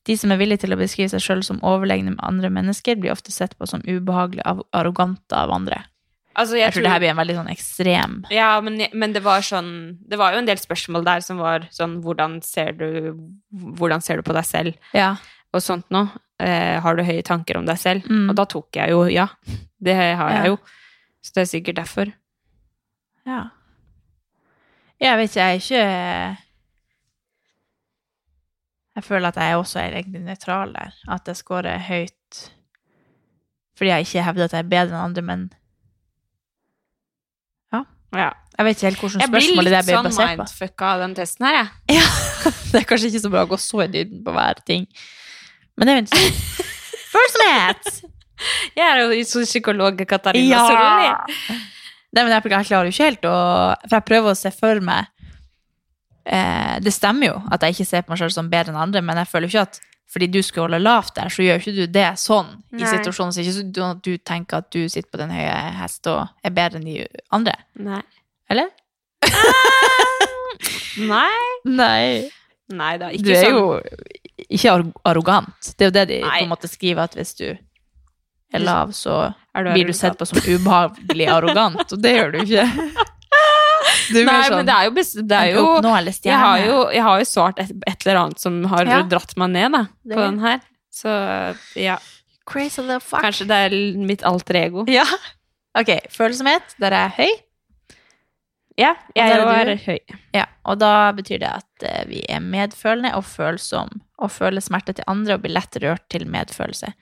S3: De som er villige til å beskrive seg sjøl som overlegne med andre mennesker, blir ofte sett på som ubehagelig av- arrogante av andre.
S4: Altså,
S3: Jeg tror det her blir en veldig sånn ekstrem
S4: Ja, men, men det var sånn Det var jo en del spørsmål der som var sånn Hvordan ser du, hvordan ser du på deg selv?
S3: Ja.
S4: Og sånt noe. Eh, har du høye tanker om deg selv?
S3: Mm.
S4: Og da tok jeg jo ja. Det har
S3: Ja.
S4: jeg jo. Så det er sikkert derfor.
S3: Ja. Jeg vet ikke, jeg er ikke Jeg føler at jeg også er egentlig nøytral der. At jeg scorer høyt fordi jeg ikke hevder at jeg er bedre enn andre, men Ja.
S4: Ja.
S3: Jeg vet ikke helt hvordan
S4: Jeg blir
S3: spørsmål det
S4: litt
S3: der blir
S4: sånn
S3: basert på.
S4: mindfucka av den testen her, jeg.
S3: Ja. Det er kanskje ikke så bra å gå så i dybden på hver ting. Men det er jo interessant. First math!
S4: *laughs* Jeg er jo så psykolog Katarina
S3: Ja.
S4: Soroli.
S3: Nei, men jeg, jeg klarer jo ikke helt å For jeg prøver å se for meg eh, Det stemmer jo at jeg ikke ser på meg selv som bedre enn andre, men jeg føler jo ikke at fordi du skal holde lavt der, så gjør ikke du det sånn i
S4: Nei.
S3: situasjonen. Så ikke sånn at du tenker at du sitter på den høye hest og er bedre enn de andre.
S4: Nei.
S3: Eller?
S5: Nei.
S3: Nei.
S5: Nei da,
S3: Du
S5: ikke
S3: er
S5: sånn.
S3: jo ikke arro- arrogant. Det er jo det de
S5: Nei.
S3: på en måte skriver, at hvis du er lav, så
S4: Er du
S3: blir du
S4: arrogant?
S3: sett på som ubehagelig arrogant, og det gjør du ikke. *laughs* Du er
S4: Nei,
S3: mer sånn,
S4: men det er jo, bes- det er
S3: en
S4: jo
S3: oppnåelig
S4: jeg,
S3: stjerne.
S4: har jo jeg har jo svart et, et eller annet som har
S3: Ja.
S4: dratt meg ned da,
S3: Det-
S4: på den her. Så ja.
S3: Crazy little fuck.
S4: Kanskje det er l- mitt alter ego.
S3: Ja. Ok, følsomhet, der er jeg høy.
S4: Ja, jeg
S3: Og
S4: er,
S3: der er du.
S4: høy.
S3: Ja, og da betyr det at eh, vi er medfølende og følsom, og føler smerte til andre og blir lett rørt til
S4: *laughs*
S3: medfølelse.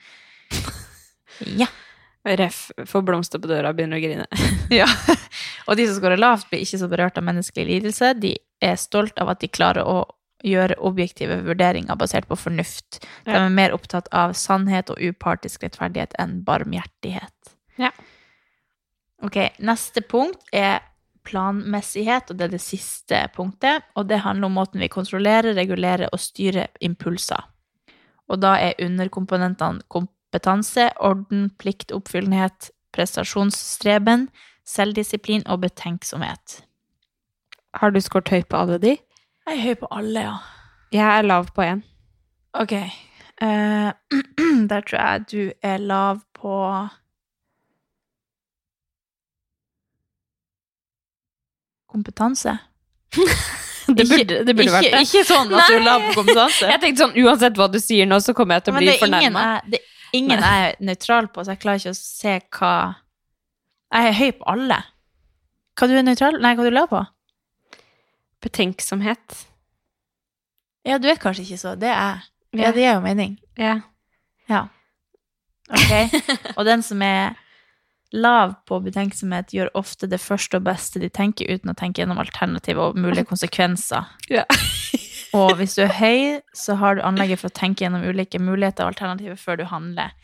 S3: Ja.
S4: Ref får blomster på døra og begynner å grine.
S3: *laughs* ja. Og de som skårer lavt, blir ikke så berørt av menneskelig lidelse. De er stolt av at de klarer å gjøre objektive vurderinger basert på fornuft. De
S4: Ja.
S3: er mer opptatt av sannhet og upartisk rettferdighet enn barmhjertighet.
S4: Ja.
S3: Ok, neste punkt er planmessighet, og det er det siste punktet. Og det handler om måten vi kontrollerer, regulerer og styrer impulser. Og da er underkomponentene kompetanse, orden, pliktoppfyllenhet, prestasjonsstreben, selvdisiplin og betenksomhet.
S4: Har du skåret høyt på alle de?
S3: Jeg er høy på alle, ja.
S4: Jeg er lav på én.
S3: Ok. eh, *clears throat* der tror jeg du er lav på *laughs* Kompetanse?
S4: *laughs* Det burde, det burde
S3: ikke,
S4: vært det.
S3: Ikke sånn at du er lav på *laughs* kompetanse.
S4: Jeg tenkte sånn, uansett hva du sier nå, så kommer jeg til å
S3: Men
S4: bli
S3: det er ingen,
S4: fornærma.
S3: jeg, det er ingen jeg er nøytral på, så jeg klarer ikke å se hva Jeg er høy på alle. Hva du er nøytral Nei, hva du er lav på?
S4: Betenksomhet.
S3: Ja, du er kanskje ikke så Det er jeg. Ja, det gir jo mening.
S4: Ja.
S3: Ja. Ok. Og den som er lav på betenksomhet, gjør ofte det første og beste de tenker, uten å tenke gjennom alternativ og mulige konsekvenser.
S4: Ja.
S3: *laughs* og hvis du er høy, så har du anlegget for å tenke gjennom ulike muligheter og alternativer før du handler.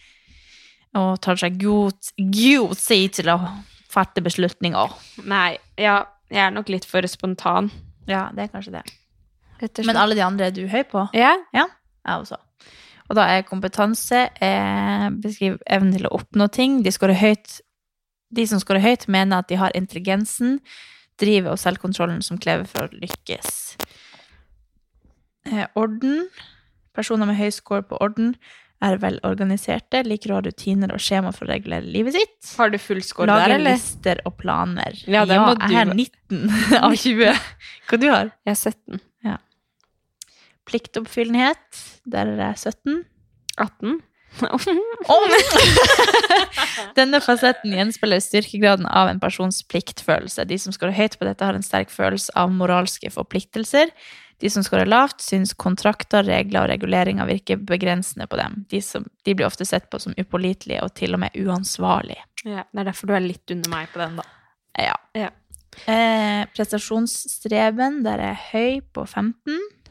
S3: Og tar seg god, god tid til å fatte beslutninger.
S4: Nei, ja, jeg er nok litt for spontan.
S3: Ja, det er kanskje det.
S4: Rett og
S3: Men
S4: slett.
S3: alle de andre er du høy på?
S4: Ja,
S3: Jeg også. Og da er kompetanse eh, Beskriv evnen til å oppnå ting. De, scorer høyt. de som scorer høyt, mener at de har intelligensen, drivet og selvkontrollen som krever for å lykkes. Eh, orden. Personer med høy score på orden er velorganiserte, liker å ha rutiner og skjema for å regulere livet sitt.
S4: Har du full score der,
S3: Lager
S4: eller?
S3: lister og planer.
S4: Ja, der må
S3: jeg er
S4: du-
S3: 19 av
S4: *laughs*
S3: 20. Hva du har
S4: Jeg er 17.
S3: Pliktoppfyllenhet. Der er jeg 17.
S4: 18?
S3: *laughs* Denne fasetten gjenspeiler styrkegraden av en persons pliktfølelse. De som scorer høyt på dette, har en sterk følelse av moralske forpliktelser. De som scorer lavt, syns kontrakter, regler og reguleringer virker begrensende på dem. De, som, de blir ofte sett på som upålitelige og til og med uansvarlige.
S4: Ja, det er derfor du er litt under meg på den, da.
S3: Ja.
S4: Ja.
S3: Eh, prestasjonsstreben, der er jeg høy på 15.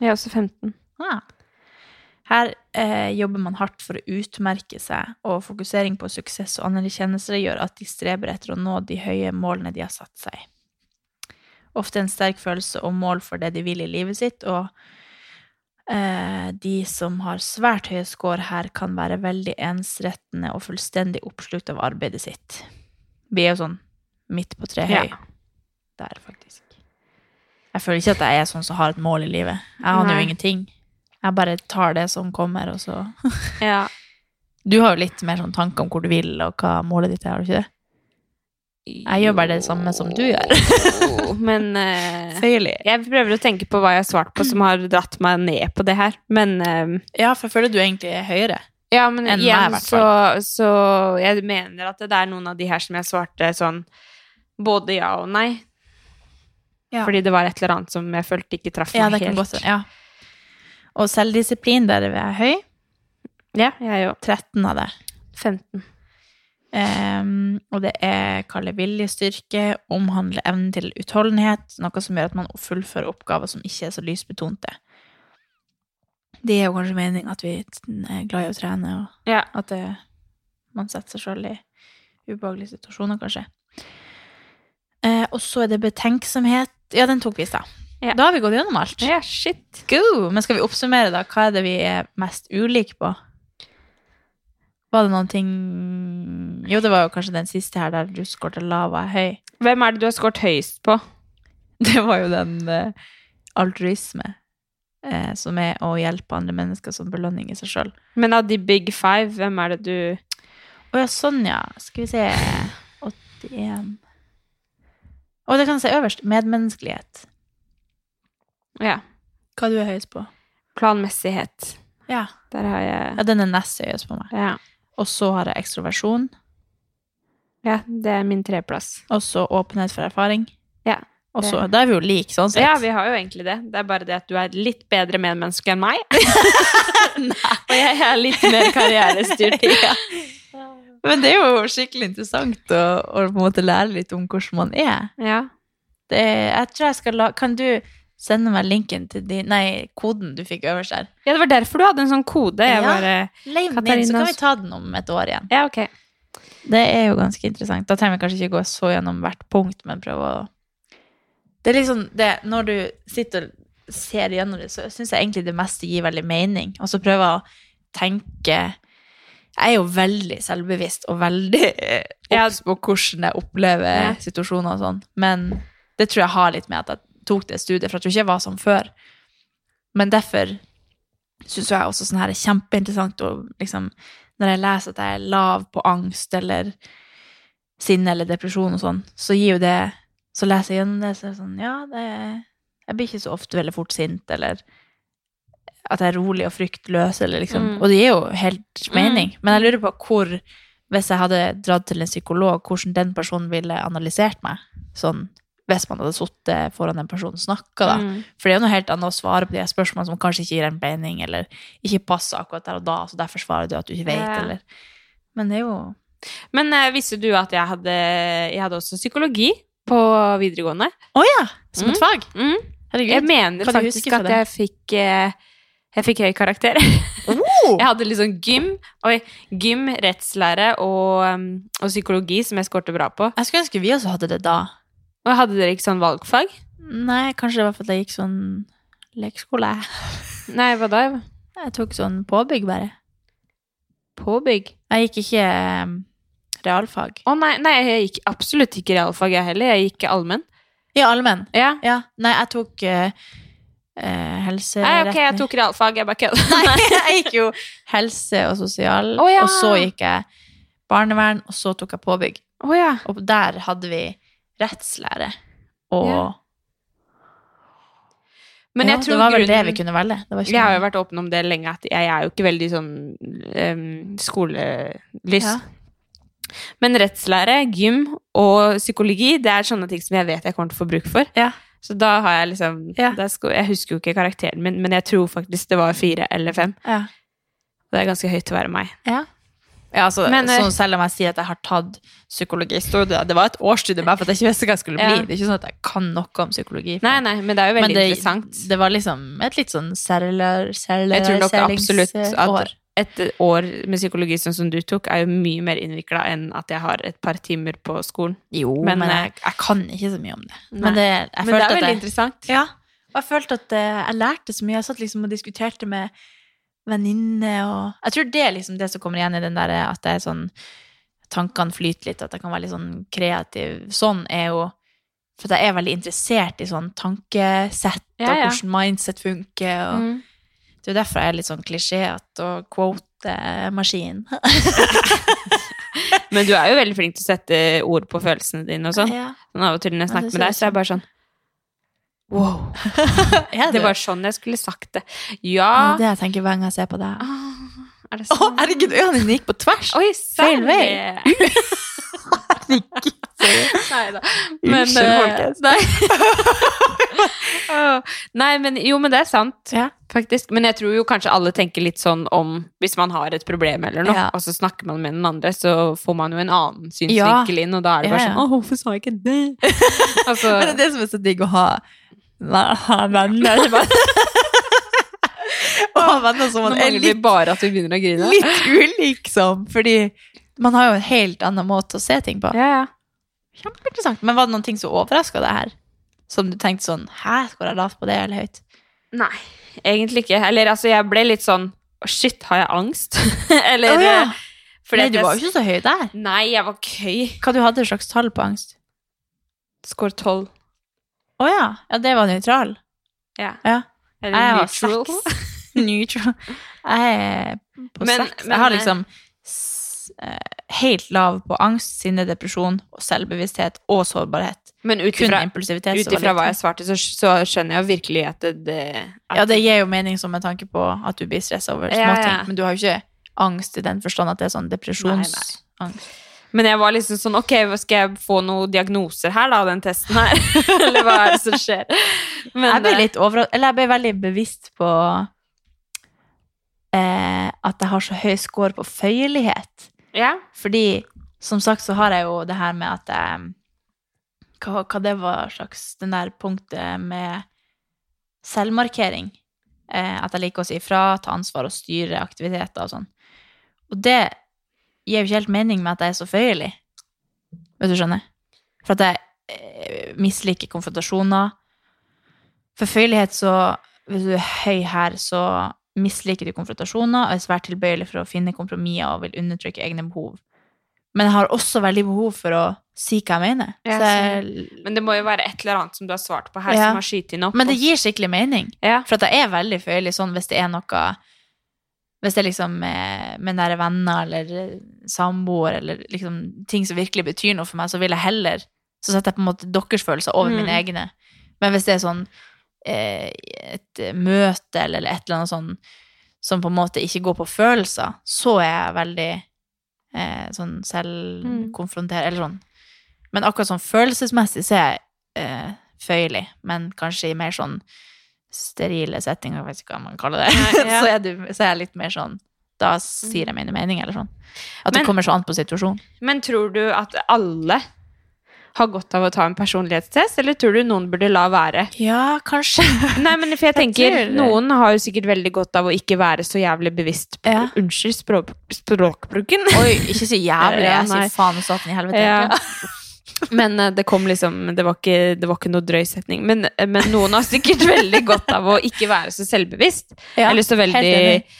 S4: Jeg er også 15.
S3: Ah. Her eh, jobber man hardt for å utmerke seg, og fokusering på suksess og anerkjennelse gjør at de streber etter å nå de høye målene de har satt seg. Ofte en sterk følelse og mål for det de vil i livet sitt, og eh, de som har svært høye score her, kan være veldig ensrettende og fullstendig oppslukt av arbeidet sitt. Vi er jo sånn midt på treet høy.
S4: Ja.
S3: Der, faktisk. Jeg føler ikke at jeg er sånn som har et mål i livet. Jeg aner
S4: Nei.
S3: jo ingenting. Jeg bare tar det som kommer, og så
S4: Ja.
S3: Du har jo litt mer sånn tanke om hvor du vil, og hva målet ditt er, har du ikke det? Jeg gjør bare det samme som du gjør.
S4: Jo, Men
S3: *laughs*
S4: eh,
S3: Føyelig.
S4: jeg prøver å tenke på hva jeg har svart på som har dratt meg ned på det her. Men eh,
S3: Ja, for jeg føler du egentlig er høyere.
S4: Ja, men
S3: Enn meg, i
S4: igjen
S3: hvert
S4: så, så Jeg mener at det er noen av de her som jeg svarte sånn både ja og nei.
S3: Ja.
S4: Fordi det var et eller annet som jeg følte ikke traff
S3: Ja,
S4: meg
S3: det kan
S4: helt.
S3: godt ja. Og selvdisiplin, der er jeg høy.
S4: Ja, jeg er jo
S3: 13 av det.
S4: 15.
S3: Ehm, og det er kalle viljestyrke, omhandle evnen til utholdenhet, noe som gjør at man fullfører oppgaver som ikke er så lysbetonte. Det er jo kanskje meningen at vi er glad i å trene, og
S4: Ja.
S3: at det, man setter seg sjøl i ubehagelige situasjoner, kanskje. Eh, og så er det betenksomhet Ja, den tok vi i stad. Da har vi gått gjennom alt.
S4: Ja, shit.
S3: Go! Men skal vi oppsummere, da? Hva er det vi er mest ulike på? Var det noen ting Jo, det var jo kanskje den siste her der du skåret lav og jeg høy.
S4: Hvem er det du har skåret høyest på?
S3: *laughs* Det var jo den eh, altruisme eh, som er å hjelpe andre mennesker som belønning i seg sjøl.
S4: Men av de big five, hvem er det du
S3: Å ja, sånn ja. Skal vi se 81 Å, det kan jeg si øverst. Medmenneskelighet.
S4: Ja.
S3: Hva du er høyest på?
S4: Planmessighet.
S3: Ja.
S4: Der har jeg
S3: ja den er nest høyest på meg.
S4: Ja.
S3: Og så har jeg ekstroversjon.
S4: ja det er min treplass.
S3: Og så åpenhet for erfaring.
S4: Ja.
S3: Og så,
S4: Det-
S3: Da er vi jo like, sånn sett.
S4: Ja, vi har jo egentlig det. Det er bare det at du er litt bedre medmenneske enn meg. Og jeg er litt mer karrierestyrt. Ja.
S3: *laughs* Men det er jo skikkelig interessant å, å på en måte lære litt om hvordan man er.
S4: ja.
S3: Det, jeg tror jeg skal la Kan du sende meg linken til din Nei, koden du fikk øverst der?
S4: Ja, det var derfor du hadde en sånn kode.
S3: Ja.
S4: Jeg bare,
S3: Leim den inn,
S4: Katarina-
S3: så kan vi ta den om et år igjen.
S4: ja, ok.
S3: Det er jo ganske interessant. Da trenger vi kanskje ikke gå så gjennom hvert punkt, men prøve å Det er liksom det Når du sitter og ser gjennom det, så syns jeg egentlig det meste gir veldig mening. Og så prøve å tenke Jeg er jo veldig selvbevisst og veldig eh,
S4: Ja.
S3: obs på hvordan jeg opplever
S4: Ja.
S3: situasjoner og sånn, men det tror jeg har litt med at jeg tok det studiet, for jeg tror ikke jeg var sånn før. Men derfor syns jeg også sånn her er kjempeinteressant å liksom Når jeg leser at jeg er lav på angst eller sinne eller depresjon og sånn, så gir jo det Så leser jeg gjennom det, så er det sånn Ja, det Jeg blir ikke så ofte veldig fort sint, eller at jeg er rolig og fryktløs, eller liksom
S4: Mm.
S3: Og det gir jo helt mening. Men jeg lurer på hvor Hvis jeg hadde dratt til en psykolog, hvordan den personen ville analysert meg. Sånn hvis man hadde sittet foran den personen og snakka, da.
S4: Mm.
S3: For det er jo noe helt annet å svare på de her spørsmålene som kanskje ikke gir en mening, eller ikke passer akkurat der og da, så derfor svarer du at du ikke vet,
S4: Ja.
S3: eller Men det er jo
S4: Men eh, visste du at jeg hadde, jeg hadde også psykologi på videregående?
S3: Å ja! Som
S4: Mm.
S3: et fag!
S4: Mm. Jeg
S3: Herregud.
S4: mener
S3: Hva du
S4: faktisk
S3: husker fra
S4: at
S3: det?
S4: jeg fikk, eh, jeg fikk høy karakter.
S3: Oh!
S4: *laughs* Jeg hadde liksom gym, oi, gym, rettslære og, um, og psykologi som jeg skårte bra på.
S3: Jeg skulle ønske vi også hadde det da.
S4: Og hadde dere ikke sånn valgfag?
S3: Nei, kanskje det var fordi jeg gikk sånn lekeskole.
S4: Nei, hva da?
S3: Jeg tok sånn påbygg, bare.
S4: Påbygg?
S3: Jeg gikk ikke eh, realfag.
S4: Å nei, nei, jeg gikk absolutt ikke realfag jeg heller. Jeg gikk allmenn.
S3: Ja, allmenn.
S4: Ja.
S3: Ja. Nei, jeg tok eh, eh,
S4: Nei,
S3: helseretning.
S4: ok, jeg tok realfag, jeg bare kødder. *laughs*
S3: Nei, jeg gikk jo helse og sosial,
S4: Å, ja.
S3: og så gikk jeg barnevern, og så tok jeg påbygg.
S4: Å ja.
S3: Og der hadde vi rettslære. Og
S4: Ja. Men
S3: ja,
S4: jeg tror
S3: det var vel det
S4: grunnen-
S3: vi kunne velge. Det var ikke
S4: Jeg har jo
S3: noe-
S4: vært åpen om det lenge, at jeg er jo ikke veldig sånn ehm, skolelyst.
S3: Ja.
S4: Men rettslære, gym og psykologi, det er sånne ting som jeg vet jeg kommer til å få bruk for.
S3: Ja.
S4: Så da har jeg liksom
S3: Ja.
S4: da sko- Jeg husker jo ikke karakteren min, men jeg tror faktisk det var fire eller fem.
S3: ja.
S4: Det er ganske høyt til å være meg.
S3: Ja. Ja, altså,
S4: Men, eh,
S3: sånn selv om jeg sier at jeg har tatt psykologistudiet Det var et årsstudie bare for at jeg ikke visste hva jeg skulle bli.
S4: Ja.
S3: Det er ikke sånn at jeg kan noe om psykologi.
S4: Nei, nei, men det er jo
S3: Men
S4: veldig
S3: det,
S4: interessant.
S3: det var liksom et litt sånn seriøseringsår.
S4: Jeg tror nok absolutt at et år med psykologi sånn som du tok, er jo mye mer innvikla enn at jeg har et par timer på skolen.
S3: Jo,
S4: Men,
S3: men,
S4: eh,
S3: jeg, jeg kan ikke så mye om det.
S4: Nei.
S3: Men det, jeg
S4: Men det
S3: følte
S4: er
S3: at
S4: veldig
S3: jeg,
S4: interessant.
S3: Ja, og jeg følte at eh, jeg lærte så mye. Jeg satt liksom og diskuterte med venninner og Jeg tror det er liksom det som kommer igjen i den der eh, at det er sånn Tankene flyter litt, at jeg kan være litt sånn kreativ. Sånn er jo For at jeg er veldig interessert i sånn tankesett
S4: Ja, ja.
S3: og hvordan mindset funker. Og,
S4: Mm.
S3: Det er jo derfor jeg er litt sånn klisjéete og *laughs* quote-maskin.
S4: Men du er jo veldig flink til å sette ord på følelsene dine og sånn.
S3: Ja.
S4: Sånn av og til
S3: Ja,
S4: når jeg
S3: det
S4: snakker med deg, så
S3: ser
S4: er jeg bare sånn Wow.
S3: Er
S4: Det
S3: det?
S4: var sånn jeg skulle sagt det.
S3: Ja,
S4: Ja
S3: det jeg tenker hver gang jeg ser på deg.
S4: Er det
S3: Å, herregud, øynene dine gikk på tvers!
S4: Oi,
S3: Feil vei.
S4: *laughs* Nei da. Men,
S3: Unnskyld,
S4: eh, nei. Åh, nei, men jo, men det er sant,
S3: *laughs* Ja.
S4: faktisk. Men jeg tror jo kanskje alle tenker litt sånn om hvis man har et problem eller noe,
S3: Ja.
S4: og så snakker man med den andre, så får man jo en annen synsvinkel inn, og da er det bare
S3: Ja,
S4: sånn
S3: ja.
S4: Å, hvorfor sa jeg ikke det? altså,
S3: Men *laughs* det er det som er så digg å ha ha venner. det er bare- *laughs* Å ha venner som
S4: nå
S3: man er
S4: mangler vi
S3: litt,
S4: bare at vi begynner å grine.
S3: litt ulik som. Fordi man har jo en helt annen måte å se ting på.
S4: Ja, ja.
S3: Kjempeinteressant. Men var det noen ting som overraska deg her? Som du tenkte sånn Hæ, går jeg lavt på det eller høyt?
S4: Nei, egentlig ikke. Eller altså, jeg ble litt sånn Å, shit, har jeg angst? *laughs* Eller
S3: Å, ja.
S4: eh, fordi
S3: Nei,
S4: at
S3: du
S4: jeg-
S3: var jo ikke så høy der.
S4: Nei, jeg var ikke høy.
S3: Hva du hadde slags tall på angst?
S4: Skår 12.
S3: Å ja. ja, det var nøytral.
S4: Ja.
S3: Ja.
S4: Eller
S3: Jeg var
S4: neutral.
S3: seks.
S4: *laughs*
S3: Neutral. Jeg er på
S4: Men-
S3: seks.
S4: men,
S3: Jeg har
S4: eh,
S3: liksom s- eh, helt lav på angst, sinne, depresjon, og selvbevissthet og sårbarhet.
S4: Men ut
S3: Kun
S4: ifra
S3: impulsivitet.
S4: ut
S3: så var
S4: ifra
S3: litt-
S4: hva jeg svarte, så, så skjønner jeg jo virkelig at det, det at
S3: Ja, det gir jo mening som med tanke på at du blir stressa over småting,
S4: Ja, ja.
S3: men du har jo ikke angst i den forstand at det er sånn depresjonsangst.
S4: Men jeg var liksom sånn, ok, hva skal jeg få noen diagnoser her da, av den testen her? *laughs* Eller hva er det som skjer? Men,
S3: Jeg ble
S4: eh,
S3: litt overras- eller jeg ble veldig bevisst på eh, at jeg har så høy score på føyelighet.
S4: eh, Ja,
S3: Fordi, som sagt, så har jeg jo det her med at eh, jeg Hva, hva det var slags Den der punktet med selvmarkering. Eh, at jeg liker å si fra, ta ansvar og styre aktiviteter og sånn. Og det gir jo ikke helt mening med at jeg er så føyelig. Vet du, skjønner? For at jeg eh, misliker konfrontasjoner. For føyelighet så Hvis du er høy her, så misliker du konfrontasjoner og er svært tilbøyelig for å finne kompromisser og vil undertrykke egne behov. Men jeg har også veldig behov for å si hva jeg mener.
S4: Ja,
S3: Så jeg,
S4: men det må jo være et eller annet som du har svart på her,
S3: Ja.
S4: som har skytet inn opp.
S3: men det gir skikkelig mening.
S4: Ja.
S3: For at jeg er veldig følelig sånn hvis det er noe Hvis det er liksom eh, med nære venner eller eh, samboer eller liksom ting som virkelig betyr noe for meg, så vil jeg heller Så setter jeg på en måte deres følelser over
S4: Mm.
S3: mine egne. Men hvis det er sånn eh, et møte eller et eller annet sånn som på en måte ikke går på følelser, så er jeg veldig eh, sånn
S4: Mm.
S3: selvkonfrontert, eller sånn. Men akkurat sånn følelsesmessig så er jeg eh, føyelig, men kanskje i mer sånn sterile settinger, jeg vet ikke hva man kaller det,
S4: Nei,
S3: *laughs*
S4: ja. Mm.
S3: så, er du, så er jeg litt mer sånn, da sier jeg mine meninger, eller sånn. At
S4: Men-
S3: det kommer så an på situasjonen.
S4: Men tror du at alle har godt av å ta en personlighetstest, eller tror du noen burde la være?
S3: Ja, kanskje.
S4: Nei, men for jeg tenker,
S3: tror-
S4: noen har jo sikkert veldig godt av å ikke være så jævlig bevisst på,
S3: Ja.
S4: unnskyld, språk, språkbruken.
S3: *laughs* Oi, ikke så jævlig,
S4: Ja,
S3: jeg
S4: nei.
S3: sier faen og satan i helvete.
S4: Ja. *laughs* Men eh, det kom liksom Det var ikke, det var ikke noe drøy setning. Men, eh, men noen har sikkert *laughs* veldig godt av å ikke være så selvbevisst.
S3: Ja,
S4: Eller så
S3: helt
S4: veldig
S3: enig.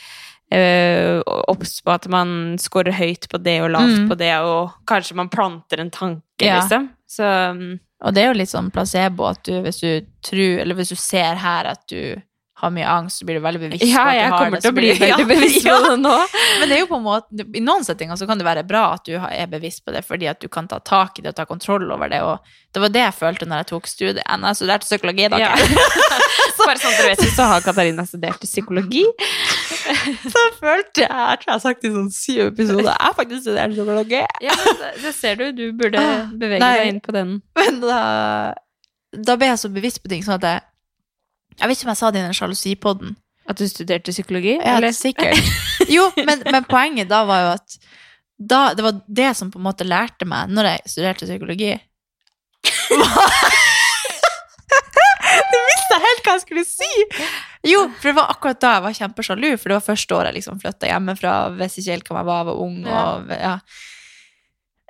S4: eh, obs på at man scorer høyt på det og lavt
S3: Mm.
S4: på det, og kanskje man planter en tanke,
S3: Ja.
S4: liksom. Så mm,
S3: Og det er jo litt sånn placebo at du, hvis du tror, eller hvis du ser her at du har mye angst, så blir du veldig bevisst
S4: ja,
S3: på at du
S4: jeg
S3: har
S4: kommer
S3: det,
S4: til
S3: så
S4: å bli
S3: blir du-
S4: veldig
S3: *laughs* Ja,
S4: bevisst på
S3: ja.
S4: det nå.
S3: *laughs* Men det er jo på en måte, i noen settinger så kan det være bra at du har- er bevisst på det, fordi at du kan ta tak i det og ta kontroll over det, og det var det jeg følte når jeg tok studiet. Nei, Jeg studerte psykologi, da.
S4: Ja. *laughs* Bare sånn at du vet, så har Katarina studert psykologi.
S3: Så følte jeg, jeg tror jeg har sagt det i sånn syv episoder, jeg har faktisk studert psykologi.
S4: Ja, men det, det ser du. Du burde
S3: Ah,
S4: bevege
S3: nei.
S4: deg inn på den.
S3: Men da, da ble jeg så bevisst på ting, sånn at jeg, jeg vet ikke om jeg sa det i den sjalusipodden,
S4: At du studerte psykologi?
S3: Ja,
S4: eller?
S3: sikkert. *laughs* Jo, men, men poenget da var jo at da, det var det som på en måte lærte meg når jeg studerte psykologi. Du mista helt hva jeg skulle si! Jo, for det var akkurat da jeg var kjempesjalu, for det var første året jeg liksom flytta hjemmefra, visste ikke helt hvem jeg var, var ung og ja.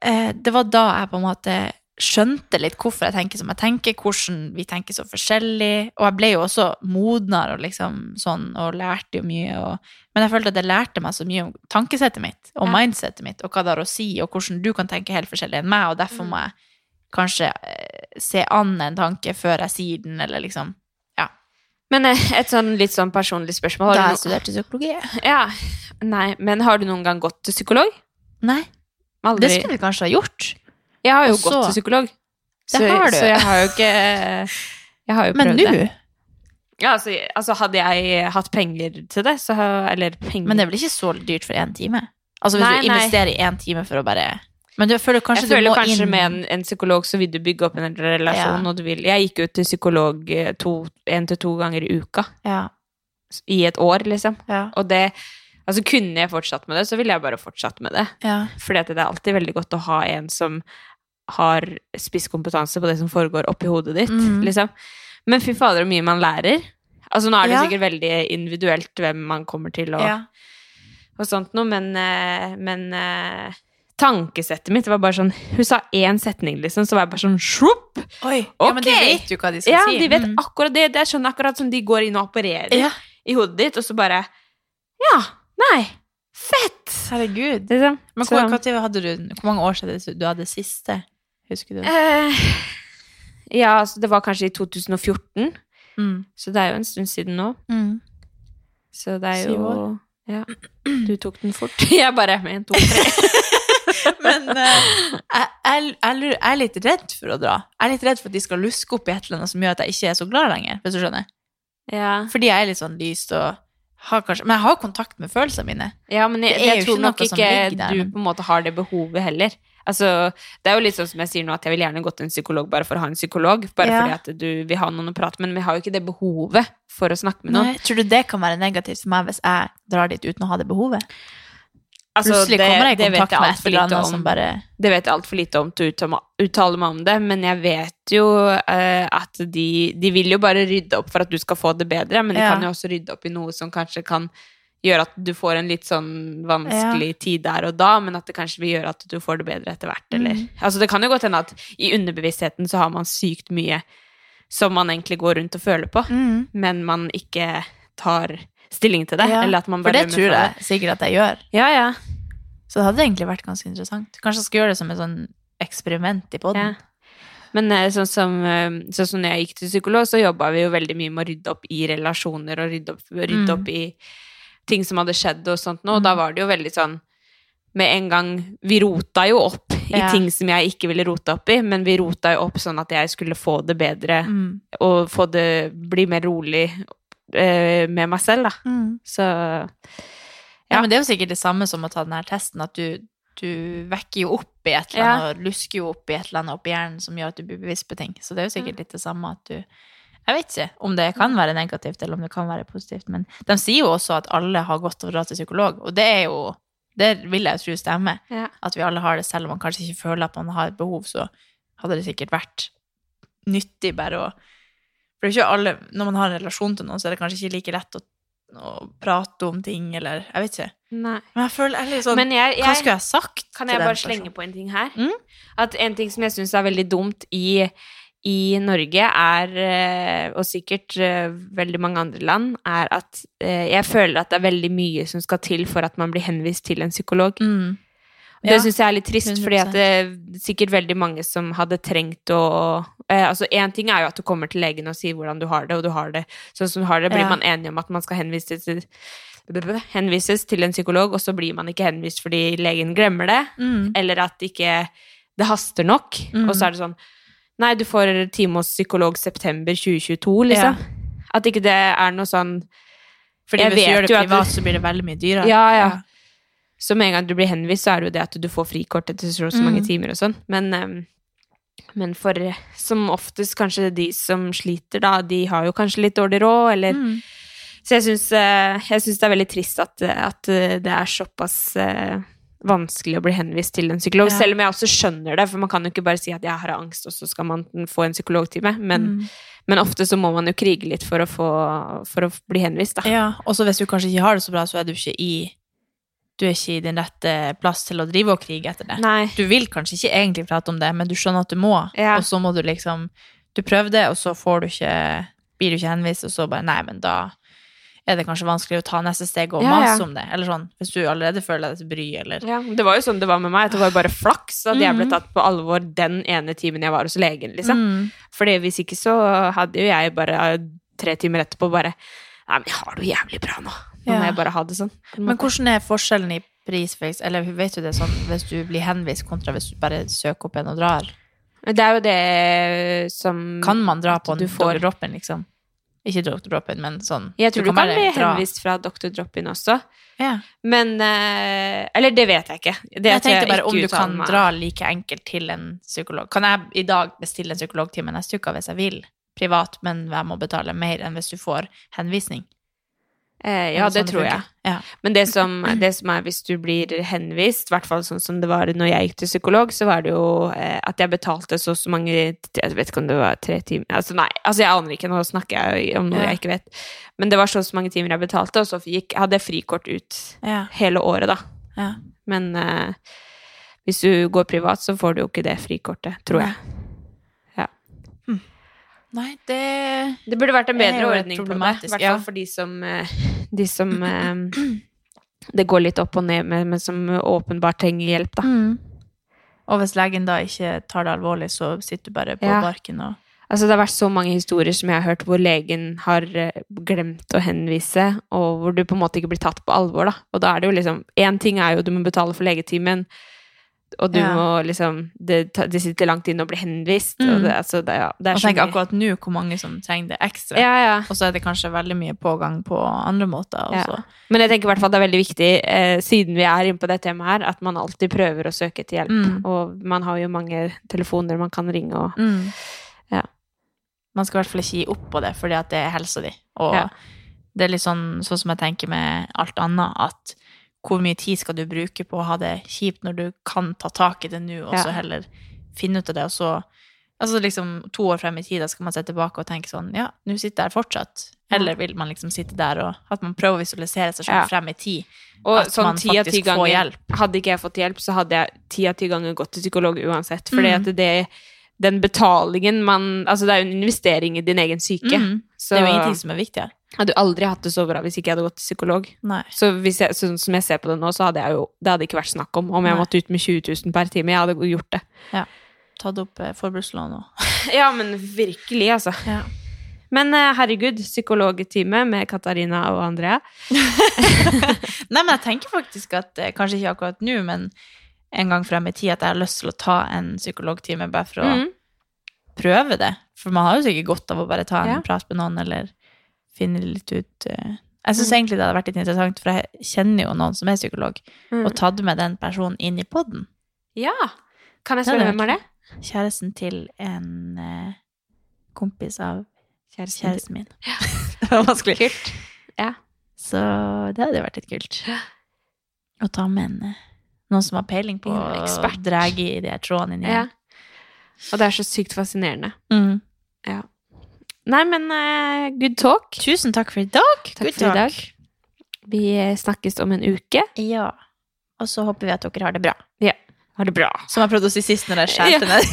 S3: Eh, Det var da jeg på en måte skjønte litt hvorfor jeg tenker som jeg tenker, hvordan vi tenker så forskjellig, og jeg ble jo også modnere og liksom sånn, og lærte jo mye og men jeg følte at det lærte meg så mye om tankesettet mitt, og
S4: Ja.
S3: mindsettet mitt, og hva det har å si, og hvordan du kan tenke helt forskjellig enn meg, og derfor må jeg kanskje eh, se an en tanke før jeg sier den, eller liksom.
S4: Men eh, et sånn litt sånn personlig spørsmål.
S3: Da
S4: Har
S3: jeg
S4: du no
S3: studerte psykologi.
S4: ja. Nei, men har du noen gang gått til psykolog?
S3: Nei,
S4: Aldri.
S3: det skulle jeg kanskje ha gjort.
S4: Jeg har jo
S3: Og så-
S4: gått til psykolog.
S3: Det
S4: så,
S3: har du.
S4: Så jeg har jo ikke Jeg har jo
S3: Men
S4: prøvd
S3: nå?
S4: det. Ja, altså, altså, hadde jeg hatt penger til det, så ha- Eller penger
S3: Men det er vel ikke så dyrt for én time? Altså hvis
S4: Nei,
S3: du
S4: nei.
S3: investerer i én time for å bare Men du føler kanskje
S4: Jeg føler
S3: du må
S4: kanskje
S3: inn
S4: med en, en psykolog så vil du bygge opp en relasjon,
S3: Ja.
S4: og du vil Jeg gikk jo til psykolog eh, to- en til to ganger i uka
S3: ja,
S4: i et år, liksom.
S3: ja,
S4: Og det Altså, kunne jeg fortsatt med det, så ville jeg bare fortsatt med det.
S3: ja.
S4: Fordi at det er alltid veldig godt å ha en som har spisskompetanse på det som foregår oppi hodet ditt,
S3: Mhm.
S4: liksom. Men fy fader, så mye man lærer. Altså, nå er det
S3: Ja.
S4: sikkert veldig individuelt hvem man kommer til og,
S3: ja.
S4: og sånt noe, men, eh, men eh, tankesettet mitt var bare sånn Hun sa én setning, liksom, så var jeg bare sånn Sjopp!
S3: Ja, men de vet jo hva de skal
S4: ja,
S3: si.
S4: de vet
S3: Mm.
S4: akkurat det. Det er sånn akkurat som de går inn og opererer
S3: Ja.
S4: i hodet ditt, og så bare Ja, nei,
S3: Herregud.
S4: liksom.
S3: Men
S4: Så-
S3: hvor, hva tid hadde du, hvor mange år siden du hadde siste? Husker du det?
S4: Eh, ja, så det var kanskje i 2014,
S3: Mm.
S4: så det er jo en stund siden nå.
S3: Mm.
S4: Så det er
S3: Syv
S4: jo ja. Du tok den fort. *laughs* Jeg bare en, to, tre.
S3: *laughs* Men *laughs* eh, jeg, jeg, jeg, lurer, jeg er litt redd for å dra. Jeg er litt redd for at de skal luske opp i et eller annet som gjør at jeg ikke er så glad lenger. Hvis du skjønner.
S4: Ja,
S3: Fordi jeg er litt sånn lyst og har kanskje Men jeg har kontakt med følelsene mine.
S4: ja men jeg,
S3: Det er jo
S4: jeg tror
S3: ikke
S4: nok
S3: noe som
S4: ikke
S3: ligger der,
S4: du
S3: men-
S4: på en måte har det behovet heller. Altså, det er jo litt sånn som jeg sier nå, at jeg vil gjerne gått til en psykolog bare for å ha en psykolog. Bare
S3: Ja.
S4: fordi at du vil ha noen å prate med, men vi har jo ikke det behovet for å snakke med noen.
S3: Nei, tror du det kan være negativt for meg hvis jeg drar dit uten å ha det behovet?
S4: Altså,
S3: Plutselig
S4: det-
S3: kommer jeg i
S4: det vet
S3: kontakt
S4: jeg
S3: med
S4: alt
S3: et
S4: for
S3: eller
S4: lite
S3: annet
S4: om.
S3: som bare
S4: Det vet jeg altfor lite om til å uttale- uttale meg om det, men jeg vet jo eh, at de, de vil jo bare rydde opp for at du skal få det bedre, men de
S3: Ja.
S4: kan jo også rydde opp i noe som kanskje kan gjøre at du får en litt sånn vanskelig tid der og da, men at det kanskje vil gjøre at du får det bedre etter hvert, eller
S3: Mm.
S4: Altså, det kan jo godt hende at i underbevisstheten så har man sykt mye som man egentlig går rundt og føler på,
S3: Mm.
S4: men man ikke tar stilling til det,
S3: Ja,
S4: eller at man
S3: For
S4: bare
S3: det tror
S4: rømmer fra
S3: jeg sikkert at jeg gjør.
S4: det. Ja, ja.
S3: Så det hadde egentlig vært ganske interessant. Kanskje jeg skal gjøre det som et sånn eksperiment i poden.
S4: Men eh, sånn som, eh, sånn som når jeg gikk til psykolog, så jobba vi jo veldig mye med å rydde opp i relasjoner og rydde opp, rydde
S3: Mm.
S4: opp i ting som hadde skjedd og sånt nå. Og da var det jo veldig sånn Med en gang Vi rota jo opp i
S3: Ja.
S4: ting som jeg ikke ville rote opp i, men vi rota jo opp sånn at jeg skulle få det bedre
S3: Mm.
S4: og få det Bli mer rolig eh, med meg selv, da.
S3: Mm.
S4: Så
S3: Ja.
S4: Ja.
S3: men det er jo sikkert det samme som å ta den her testen, at du, du vekker jo opp i et eller
S4: Ja.
S3: annet, og lusker jo opp i et eller annet opp i hjernen som gjør at du blir bevisst på ting. Så det er jo sikkert
S4: Mm.
S3: litt det samme at du Jeg vet ikke om det kan være negativt, eller om det kan være positivt, men de sier jo også at alle har godt av å dra til psykolog, og det er jo Det vil jeg jo tro stemmer.
S4: Ja.
S3: At vi alle har det, selv om man kanskje ikke føler at man har et behov, så hadde det sikkert vært nyttig bare å For det er ikke alle Når man har en relasjon til noen, så er det kanskje ikke like lett å, å prate om ting, eller Jeg vet ikke.
S4: Nei.
S3: Men jeg føler jeg er litt sånn
S4: Men jeg, jeg
S3: Hva skulle jeg sagt
S4: Kan jeg bare slenge på en ting her?
S3: Mm.
S4: At en ting som jeg syns er veldig dumt i, i Norge, er, eh, og sikkert eh, veldig mange andre land, er at eh, jeg føler at det er veldig mye som skal til for at man blir henvist til en psykolog.
S3: Mm.
S4: Det
S3: Ja.
S4: syns jeg er litt trist, fordi at det er sikkert veldig mange som hadde trengt å eh, Altså, én ting er jo at du kommer til legen og sier hvordan du har det, og du har det sånn som du har det, blir
S3: Ja.
S4: man enige om at man skal henvises til Henvises til en psykolog, og så blir man ikke henvist fordi legen glemmer det,
S3: Mm.
S4: eller at ikke det haster nok.
S3: Mm.
S4: Og så er det sånn Nei, du får time hos psykolog september 2022, liksom. At ikke det er noe sånn
S3: Fordi
S4: Jeg
S3: hvis du
S4: vet
S3: gjør det
S4: jo at
S3: privat,
S4: du-
S3: så blir det veldig mye dyrere.
S4: Ja, ja. Så med en gang du blir henvist, så er det jo det at du får frikort etter så, så mange
S3: Mm.
S4: timer og sånn. Men, ehm, men for eh, som oftest kanskje de som sliter, da, de har jo kanskje litt dårlig råd, eller
S3: Mm.
S4: Så jeg syns, eh, jeg syns det er veldig trist at, eh, at eh, det er såpass eh, vanskelig å bli henvist til en psykolog.
S3: Ja.
S4: Selv om jeg også skjønner det, for man kan jo ikke bare si at jeg har angst, og så skal man få en psykologtime. Men,
S3: Mm.
S4: men ofte så må man jo krige litt for å, få, for å bli henvist, da.
S3: Ja, og så hvis du kanskje ikke har det så bra, så er du ikke i Du er ikke i din rette plass til å drive og krige etter det.
S4: Nei.
S3: Du vil kanskje ikke egentlig prate om det, men du skjønner at du må,
S4: Ja.
S3: og så må du liksom Du prøver det, og så får du ikke Blir du ikke henvist, og så bare Nei, men da er det kanskje vanskelig å ta neste steg og
S4: Ja, ja.
S3: mase om det. Eller sånn, hvis du allerede føler deg til bry, eller
S4: Ja, det var jo sånn det var med meg, at det var jo bare flaks at jeg ble
S3: Mhm.
S4: tatt på alvor den ene timen jeg var hos legen, liksom.
S3: Mm.
S4: Fordi hvis ikke så hadde jo jeg bare eh, tre timer etterpå bare Nei, men jeg har det jo jævlig bra nå. Nå
S3: Ja.
S4: må jeg bare ha det sånn. på en
S3: Men
S4: måte.
S3: hvordan er forskjellen i pris, for eks- eller vet du det sånn, hvis du blir henvist kontra hvis du bare søker opp en og drar?
S4: Det er jo det som
S3: Kan man dra på
S4: Mm. Du
S3: en
S4: får-
S3: Dr. Droppen, liksom? Ikke Dr. Droppen, men sånn.
S4: Jeg tror du kan,
S3: bare
S4: bli
S3: dra.
S4: henvist fra Dr. Drop-in også.
S3: Ja.
S4: Men eh, Eller det vet jeg ikke. Det
S3: jeg
S4: tør
S3: tenkte bare
S4: ikke
S3: om du
S4: uttale
S3: kan
S4: meg om.
S3: dra like enkelt til en psykolog. Kan jeg i dag bestille en psykologtime neste uke hvis jeg vil? Privat, men jeg må betale mer enn hvis du får henvisning.
S4: Eh,
S3: Er
S4: ja,
S3: sånn
S4: det tror jeg.
S3: funker? Ja.
S4: Men det som, det som er hvis du blir henvist, i hvert fall sånn som det var når jeg gikk til psykolog, så var det jo eh, at jeg betalte så og så mange Jeg vet ikke om det var tre timer Altså nei, altså jeg aner ikke, nå snakker jeg om noe
S3: Ja.
S4: jeg ikke vet. Men det var så og så mange timer jeg betalte, og så gikk, hadde jeg frikort ut
S3: Ja.
S4: hele året, da.
S3: Ja.
S4: Men, eh, Hvis du går privat, så får du jo ikke det frikortet, tror jeg.
S3: Nei, det
S4: Det burde vært en
S3: er
S4: bedre
S3: jo
S4: ordning på det, i hvert
S3: problematisk,
S4: fall
S3: ja.
S4: for de som, eh, de som eh, det går litt opp og ned med, men som åpenbart trenger hjelp, da.
S3: Og hvis legen da ikke tar det alvorlig, så sitter du bare på
S4: Ja.
S3: barken og
S4: Altså, det har vært så mange historier som jeg har hørt hvor legen har eh, glemt å henvise, og hvor du på en måte ikke blir tatt på alvor, da. Og da er det jo liksom Én ting er jo du må betale for legetimen, og du
S3: Ja.
S4: må liksom det, ta- det sitter langt inne å bli henvist,
S3: Mm.
S4: og det, altså, det, ja, det
S3: Og
S4: er
S3: tenk
S4: så mye.
S3: akkurat nå hvor mange som trenger det ekstra.
S4: Ja, ja.
S3: Og så er det kanskje veldig mye pågang på andre måter
S4: Ja.
S3: også.
S4: Men jeg tenker i hvert fall det er veldig viktig, eh, siden vi er inne på det temaet her, at man alltid prøver å søke etter hjelp.
S3: Mm.
S4: Og man har jo mange telefoner man kan ringe og
S3: Mm.
S4: Ja.
S3: Man skal i hvert fall ikke gi opp på det, fordi at det er helsa di. Og
S4: Ja.
S3: det er litt sånn, sånn som jeg tenker med alt annet, at hvor mye tid skal du bruke på å ha det kjipt når du kan ta tak i det nå, og
S4: Ja.
S3: så heller finne ut av det, og så Altså liksom to år frem i tid, da skal man se tilbake og tenke sånn Ja, nå sitter jeg her fortsatt. Eller vil man liksom sitte der og At man prøver å visualisere seg selv
S4: Ja.
S3: frem i tid.
S4: Og
S3: At
S4: sånn
S3: man
S4: ti av ti
S3: faktisk får
S4: ganger
S3: hjelp.
S4: Hadde ikke jeg fått hjelp, så hadde jeg ti av ti ganger gått til psykolog uansett.
S3: Mm.
S4: Fordi at det, den betalingen man Altså, det er jo en investering i din egen psyke.
S3: Mhm. Det
S4: Så
S3: er jo ingenting som er viktigere.
S4: hadde jo aldri hatt det så bra hvis ikke jeg hadde gått til psykolog.
S3: Nei.
S4: Så hvis jeg, sånn som jeg ser på det nå, så hadde jeg jo Det hadde ikke vært snakk om om jeg
S3: Nei.
S4: måtte ut med 20 000 per time. Jeg hadde gjort
S3: *laughs*
S4: det.
S3: Tatt opp eh, forbrukslån og
S4: Ja, men virkelig, altså.
S3: Ja.
S4: Men eh, herregud, psykologtime med Katarina og Andrea.
S3: *laughs* Nei, men jeg tenker faktisk at eh, kanskje ikke akkurat nå, men en gang frem i tid at jeg har lyst til å ta en psykologtime bare for å
S4: Mhm.
S3: prøve det. For man har jo sikkert godt av å bare ta en
S4: Ja.
S3: prat med noen eller finne litt ut eh. Jeg syns egentlig det hadde vært litt interessant, for jeg kjenner jo noen som er psykolog, og tatt med den personen inn i poden.
S4: Ja. Kan jeg
S3: Det hadde
S4: spørre
S3: vært
S4: hvem er det?
S3: Kjæresten til en eh, kompis av kjæresten min. *laughs* det var vanskelig.
S4: Kult. Ja.
S3: Så det hadde jo vært litt kult. Å ta med en eh, noen som har peiling på
S4: En
S3: å
S4: ekspert.
S3: dra i de her trådene inn
S4: Ja.
S3: igjen.
S4: Og det er så sykt fascinerende.
S3: Mm.
S4: Nei, men eh, good talk.
S3: Tusen takk for i dag.
S4: Takk for i dag. Vi eh, snakkes om en uke.
S3: Ja. Og så håper vi at dere har det bra.
S4: Ha det bra.
S3: *laughs*
S4: *laughs*
S3: Som jeg prøvde å si sist når jeg skjærte
S4: Ja.
S3: ned.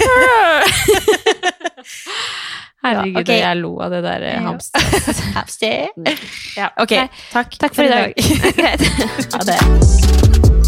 S4: Herregud,
S3: Ja, ok.
S4: jeg lo av det der eh,
S3: Ja.
S4: hamsteret.
S3: Hamster.
S4: Ja.
S3: Ok,
S4: Nei,
S3: takk.
S4: Takk for i dag. Greit. *laughs*
S3: Ha det.